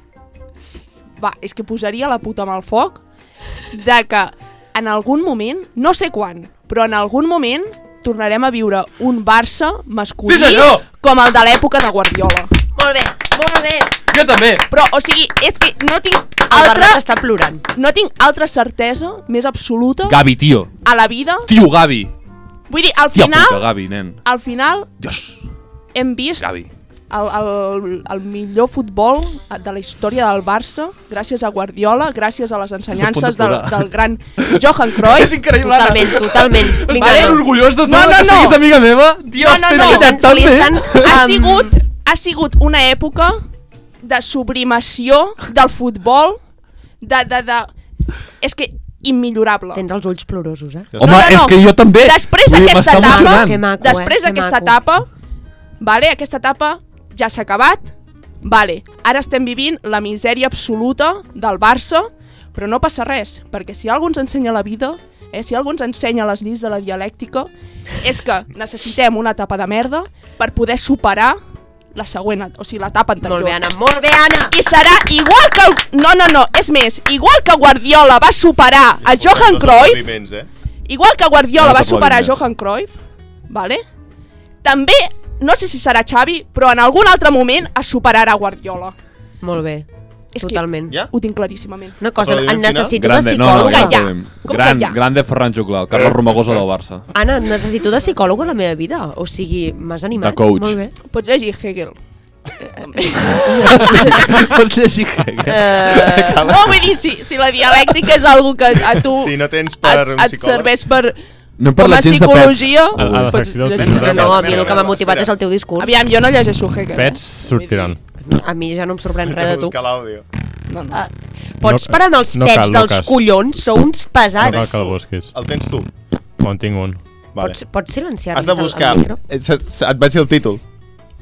F: s- Va, és que posaria la puta mà al foc de que en algun moment, no sé quan, però en algun moment tornarem a viure un Barça masculí sí, com el de l'època de Guardiola.
E: Molt bé, molt bé.
F: Però, o sigui, és que no tinc
E: El
F: altra,
E: Bernat està plorant.
F: no tinc altra certesa més absoluta
A: Gavi, tio.
F: a la vida.
A: Tio, Gavi.
F: Vull dir, al
A: Tio, puta,
F: final,
A: Gavi, nen.
F: al final
A: Dios,
F: hem vist el,
A: Gavi.
F: el, el millor futbol de la història del Barça, gràcies a Guardiola, gràcies a les ensenyances
A: punt de
F: del,
A: plorar.
F: del gran Johan Cruyff. [laughs] És increïble.
E: Totalment, totalment. Vinga,
F: Vale.
E: no.
A: Orgullós de tu,
F: No, no,
A: que
F: no.
A: siguis amiga meva. Dios,
F: no,
A: tens
F: no.
A: que estar
E: Se
A: tan
E: li
A: bé.
E: estan...
F: ha
E: em,
F: sigut, ha sigut una època de sublimació del futbol, de... de, de... És que immillorable.
E: Tens els ulls plorosos, eh?
A: Home,
F: No, no, no.
A: és que jo també.
F: Després
A: Vull dir,
F: d'aquesta
A: m'està
F: etapa-
A: emocionant.
E: Que maco,
F: Després
E: eh? Que
F: d'aquesta
E: maco.
F: etapa, vale, aquesta etapa ja s'ha acabat, vale, ara estem vivint la misèria absoluta del Barça, però no passa res, perquè si algú ens ensenya la vida, eh, si algú ens ensenya les lleis de la dialèctica, és que necessitem una etapa de merda per poder superar la següent, et- o sigui, l'etapa anterior.
E: Molt bé, Anna, molt bé, Anna.
F: I serà igual que... El... No, no, no, és més, igual que Guardiola va superar a Johan
D: Dos
F: Cruyff,
D: aplaudiments, eh?
F: Igual que Guardiola
A: No
F: va
A: t'aplaudis
F: superar
A: més.
F: Johan Cruyff, vale? també, no sé si serà Xavi, però en algun altre moment es superarà Guardiola.
E: Molt bé,
F: És
E: totalment.
D: Ja?
F: Ho tinc claríssimament.
E: Una cosa,
D: Aplaudiment
E: en necessito de
A: Grande, no, no,
E: psicòloga.
A: ja.
F: ja.
A: podem.
F: Com que
A: Gran,
F: ja? Eh.
A: grande Ferran Juclar, Carles Romagosa del
F: [laughs]
A: Barça.
E: Anna, en necessito de psicòloga a la meva vida. O sigui, m'has animat.
A: De coach.
E: Molt bé.
F: Pots llegir Hegel.
A: [laughs] Pots llegir Hegel?
E: Eh,
F: No, vull dir, si, si la dialèctica és algo que a tu
D: Ah, Si no tens per
F: et,
D: un
F: et
D: psicòleg. [laughs]
F: serveix per,
A: No hem
F: com a
A: parlat gens de pets.
F: psicologia,
C: A- a la
F: pots
C: secció del
F: llegir.
C: temps.
E: no, no, a mi el que
D: Espera,
E: m'ha motivat
D: espera.
E: és el teu discurs.
F: Aviam, jo no llegeixo Hegel.
C: Pets
F: eh?
C: sortiran.
E: a mi ja no em sorprèn
D: Vaig a
E: res de tu.
D: buscar l'àudio.
E: Ah, pots
C: No-
E: parar amb els
C: no
E: no pecs
C: cal, no
E: dels
C: cas.
E: collons, sou uns
C: No
E: pesats.
C: cal que la busquis.
D: El tens tu.
C: On tinc un.
D: Vale.
E: Pots, pots silenciar
D: Has de buscar... Et, et vaig dir el títol.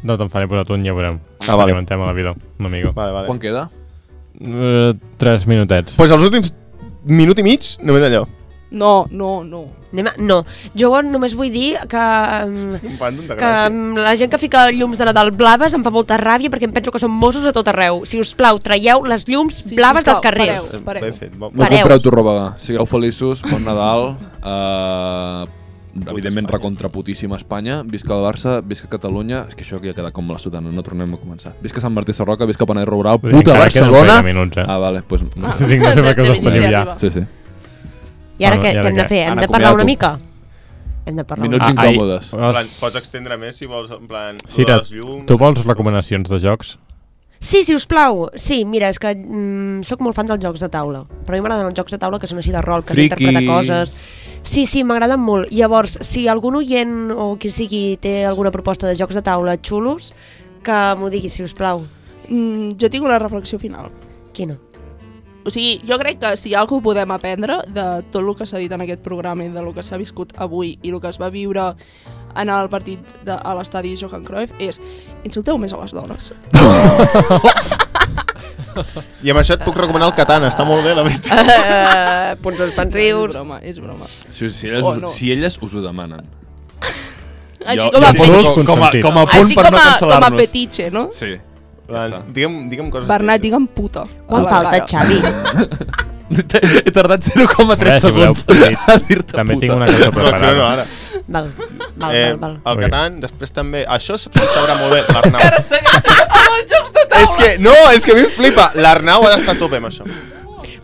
C: No te'n faré posar tu, ja ho veurem.
D: Ah, vale.
C: Experimentem a la vida, un amigo.
D: Vale, vale.
A: Quan queda?
C: Eh, tres minutets.
D: pues els últims minut i mig, només allò.
F: No, no, no.
E: Anem a... No, jo només vull dir que... mm,
D: Un pàndol
E: que
D: de gràcia.
E: mm, la gent que fica llums de Nadal blaves em fa molta ràbia perquè em penso que són Mossos a tot arreu. Si us plau, traieu les llums
F: Sí, sisplau,
E: blaves dels carrers.
F: pareu.
D: Ben fet. Bon,
A: No
E: Pareu.
A: compreu torrobaga. Sigueu feliços, bon Nadal. Uh, evidentment,
D: Espanya.
A: recontraputíssima Espanya. Visca el Barça, visca Catalunya. És que això aquí ha quedat com la sotana, no tornem a començar. Visca Sant Martí Sarroca, visca Panet Rural,
C: Vull dir,
A: puta
C: encara queden un parell
A: Barcelona.
C: de minuts, eh?
A: Ah, vale, doncs... Pues, no.
C: Sí, dic, no sé per què us
F: De- de
C: els passiu
F: ministeri
C: ja.
F: arriba.
A: Sí, sí.
E: I ara
C: Bueno,
E: què,
C: i ara
E: què hem de
C: què?
E: fer? Hem
A: Anna,
E: de parlar
A: acomiada-t'ho.
E: una mica? Hem de parlar
A: Minuts
E: una mica.
C: Ah, ai, Oh.
A: incòmodes.
D: En
C: els-
D: plan, pots extendre més si vols, en plan, sí,
C: Sira,
D: les llums...
C: tu vols recomanacions de jocs?
E: Sí, si us plau. Sí, mira, és que mm, sóc molt fan dels jocs de taula. Però a mi m'agraden els jocs de taula que són així de rol, que
A: Friki.
E: s'interpreta coses. Sí, sí, m'agraden molt. Llavors, si algun oient o qui sigui té alguna proposta de jocs de taula xulos, que m'ho digui, si us plau.
F: Mm, jo tinc una reflexió final.
E: Quina?
F: O sigui, jo crec que si hi ha alguna cosa podem aprendre de tot el que s'ha dit en aquest programa i de lo que s'ha viscut avui i el que es va viure en el partit de, a l'estadi Johan Cruyff és insulteu més a les dones.
D: I amb això et
F: Ah.
D: puc recomanar el Katana, està molt bé, la veritat.
E: Uh, punts
F: és
E: expansius.
F: broma, és broma.
A: Si, si, elles,
F: Oh,
A: oh,
F: no.
A: no. si elles us ho demanen.
F: Així com a,
C: jo
F: fe-
C: poso- els consentits.
A: com a punt
F: així
A: per
F: com
A: no
F: a, com a
A: cancel·lar-nos.
F: fetitxe, no?
A: Sí. Ja
D: Plan,
A: està.
D: digue'm, digue'm coses...
F: Bernat,
D: tristes.
F: digue'm puta. a
E: Quan
F: la
E: falta,
F: cara. [laughs]
E: Xavi?
C: [laughs]
A: He tardat 0,3
C: Res, si voleu,
A: segons
C: petit.
A: a dir-te
C: També
A: puta. [laughs]
C: tinc una cosa
D: No, no, no,
C: preparada.
D: ara.
E: Val, val,
D: Eh,
E: val, val.
D: el
C: Ui.
D: Catan, després també... Això s'apreciarà molt bé, l'Arnau. és que, no, és que a mi em flipa. L'Arnau ara està a tope amb això.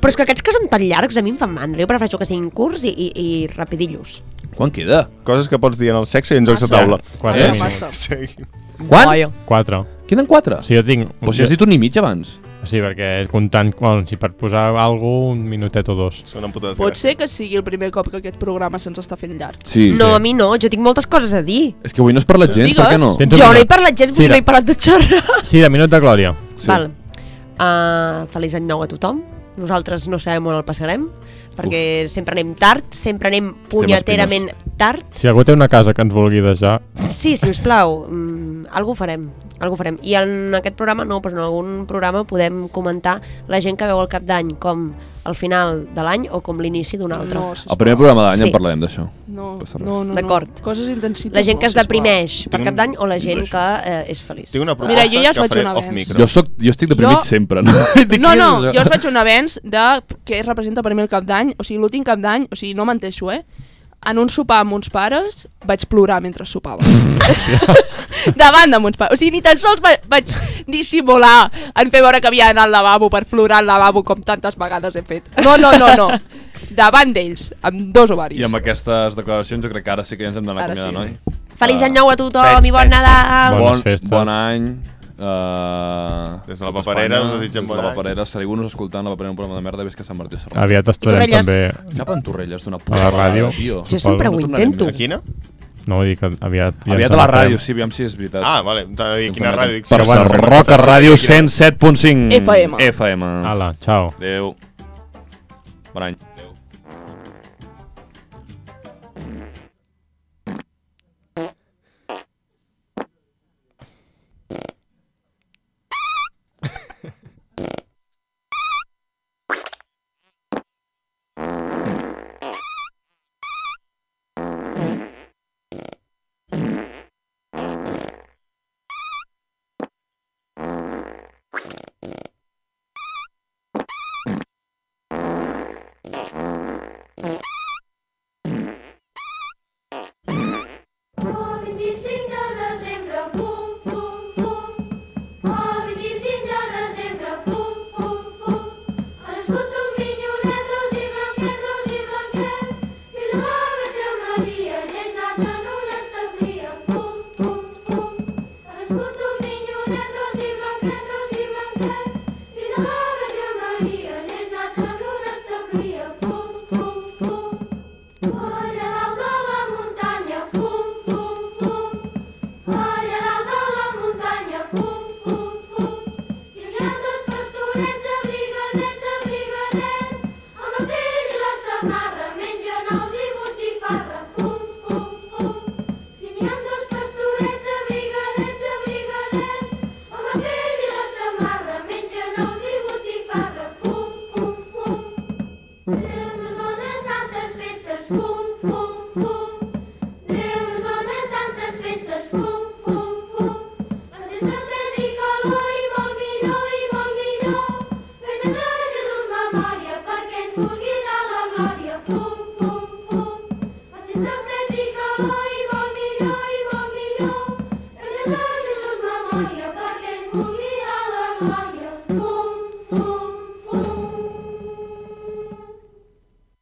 E: Però és que aquests que són tan llargs a mi em fan mandra. Jo prefereixo que siguin curts i, i, i rapidillos.
A: Quan queda?
D: Coses que pots dir en el sexe i en
F: Ah,
D: jocs de
C: Massa.
D: taula.
C: Quatre
A: Eh?
C: minuts.
D: [laughs] Seguim.
A: Quan?
E: Vaja.
C: Quatre.
A: Queden 4?
C: O sigui, jo tinc...
A: Però si has dit un i mig abans.
C: Sí, perquè comptant... Bueno, si per posar alguna un minutet o dos.
D: És una puta
F: Pot
D: desgràcia.
F: ser que sigui el primer cop que aquest programa se'ns està fent llarg.
A: Sí.
E: No, a mi no, jo tinc moltes coses a dir.
A: És que avui no has parlat gens, per què no?
C: Tens un
E: Jo no he
C: minut.
E: parlat gens, sí,
C: Sira.
E: no he parlat de
A: Ah.
E: xerrar.
C: Sí, de minut de glòria.
E: Sí. Val. Uh, feliç any nou a tothom. Nosaltres no sabem on el passarem, perquè Uf. sempre anem tard, sempre anem punyeterament tard.
C: Si algú té una casa que ens vulgui deixar,
E: Sí, si us plau, mm, algú ho farem, algú ho farem. I en aquest programa no, però en algun programa podem comentar la gent que veu el cap d'any com el final de l'any o com l'inici d'un altre.
F: No,
A: El primer programa de l'any
E: Sí.
A: en parlarem d'això.
F: No,
A: Passa res.
F: no, no. no.
E: D'acord.
F: Coses intensites.
E: La gent que
F: no,
E: es
F: sisplau.
E: deprimeix per
D: Tinc
E: cap
D: un-
E: d'any o la gent
D: Tinc
E: que eh, és feliç.
D: Tinc una proposta
F: Mira, jo ja us
D: que
F: faig
D: faré
F: un
D: off
F: avanç.
D: micro.
A: Jo, soc, jo estic deprimit
F: Jo-
A: sempre. No, [laughs] Dic,
F: No,
A: què
F: no,
A: és això?
F: jo us faig un avenç de què representa per mi el cap d'any, o sigui, l'últim cap d'any, o sigui, no menteixo, eh? En un sopar amb uns pares vaig plorar mentre sopava. Davant de mons pares. O sigui, ni tan sols va, vaig dissimular en fer veure que havia anat al lavabo per plorar al lavabo com tantes vegades he fet. No, no, no, no. Davant d'ells, amb dos ovaris.
A: I amb aquestes declaracions jo crec que ara sí que ja ens hem d'anar
F: Ara
A: acomiadant,
F: sí.
A: noi?
E: Feliç
A: Ah.
E: any nou a tothom
D: Pets,
E: i bon
D: pets.
E: Nadal!
C: Bones
A: Bon,
C: festes.
A: bon any. Uh,
D: Des de la paperera us desitgem eh?
A: bon
D: bon
A: any.
D: any.
A: la paperera, seguiu-nos escoltant la paperera un programa de merda, ves que Sant Martí Serrà.
C: aviat estarem
E: Torrelles.
C: també...
A: Xapa en Torrelles d'una
C: A
A: puta
C: la ràdio.
A: vegada, tio.
E: Jo
C: Suposo,
E: sempre
C: no
E: ho
A: tornarem
E: intento.
D: A quina?
C: No, vull dir que aviat... ja
A: Aviat
C: ens
A: a la
C: adaptarem.
A: ràdio, sí, aviam si és veritat.
D: Ah, vale, t'ha de dir quina ràdio dic.
A: Per
C: Sí, abans-
A: Sarroca Ràdio 107.5.
F: FM.
A: FM.
C: Ala, ciao.
A: Adéu. Bon any. Adéu.
H: Oh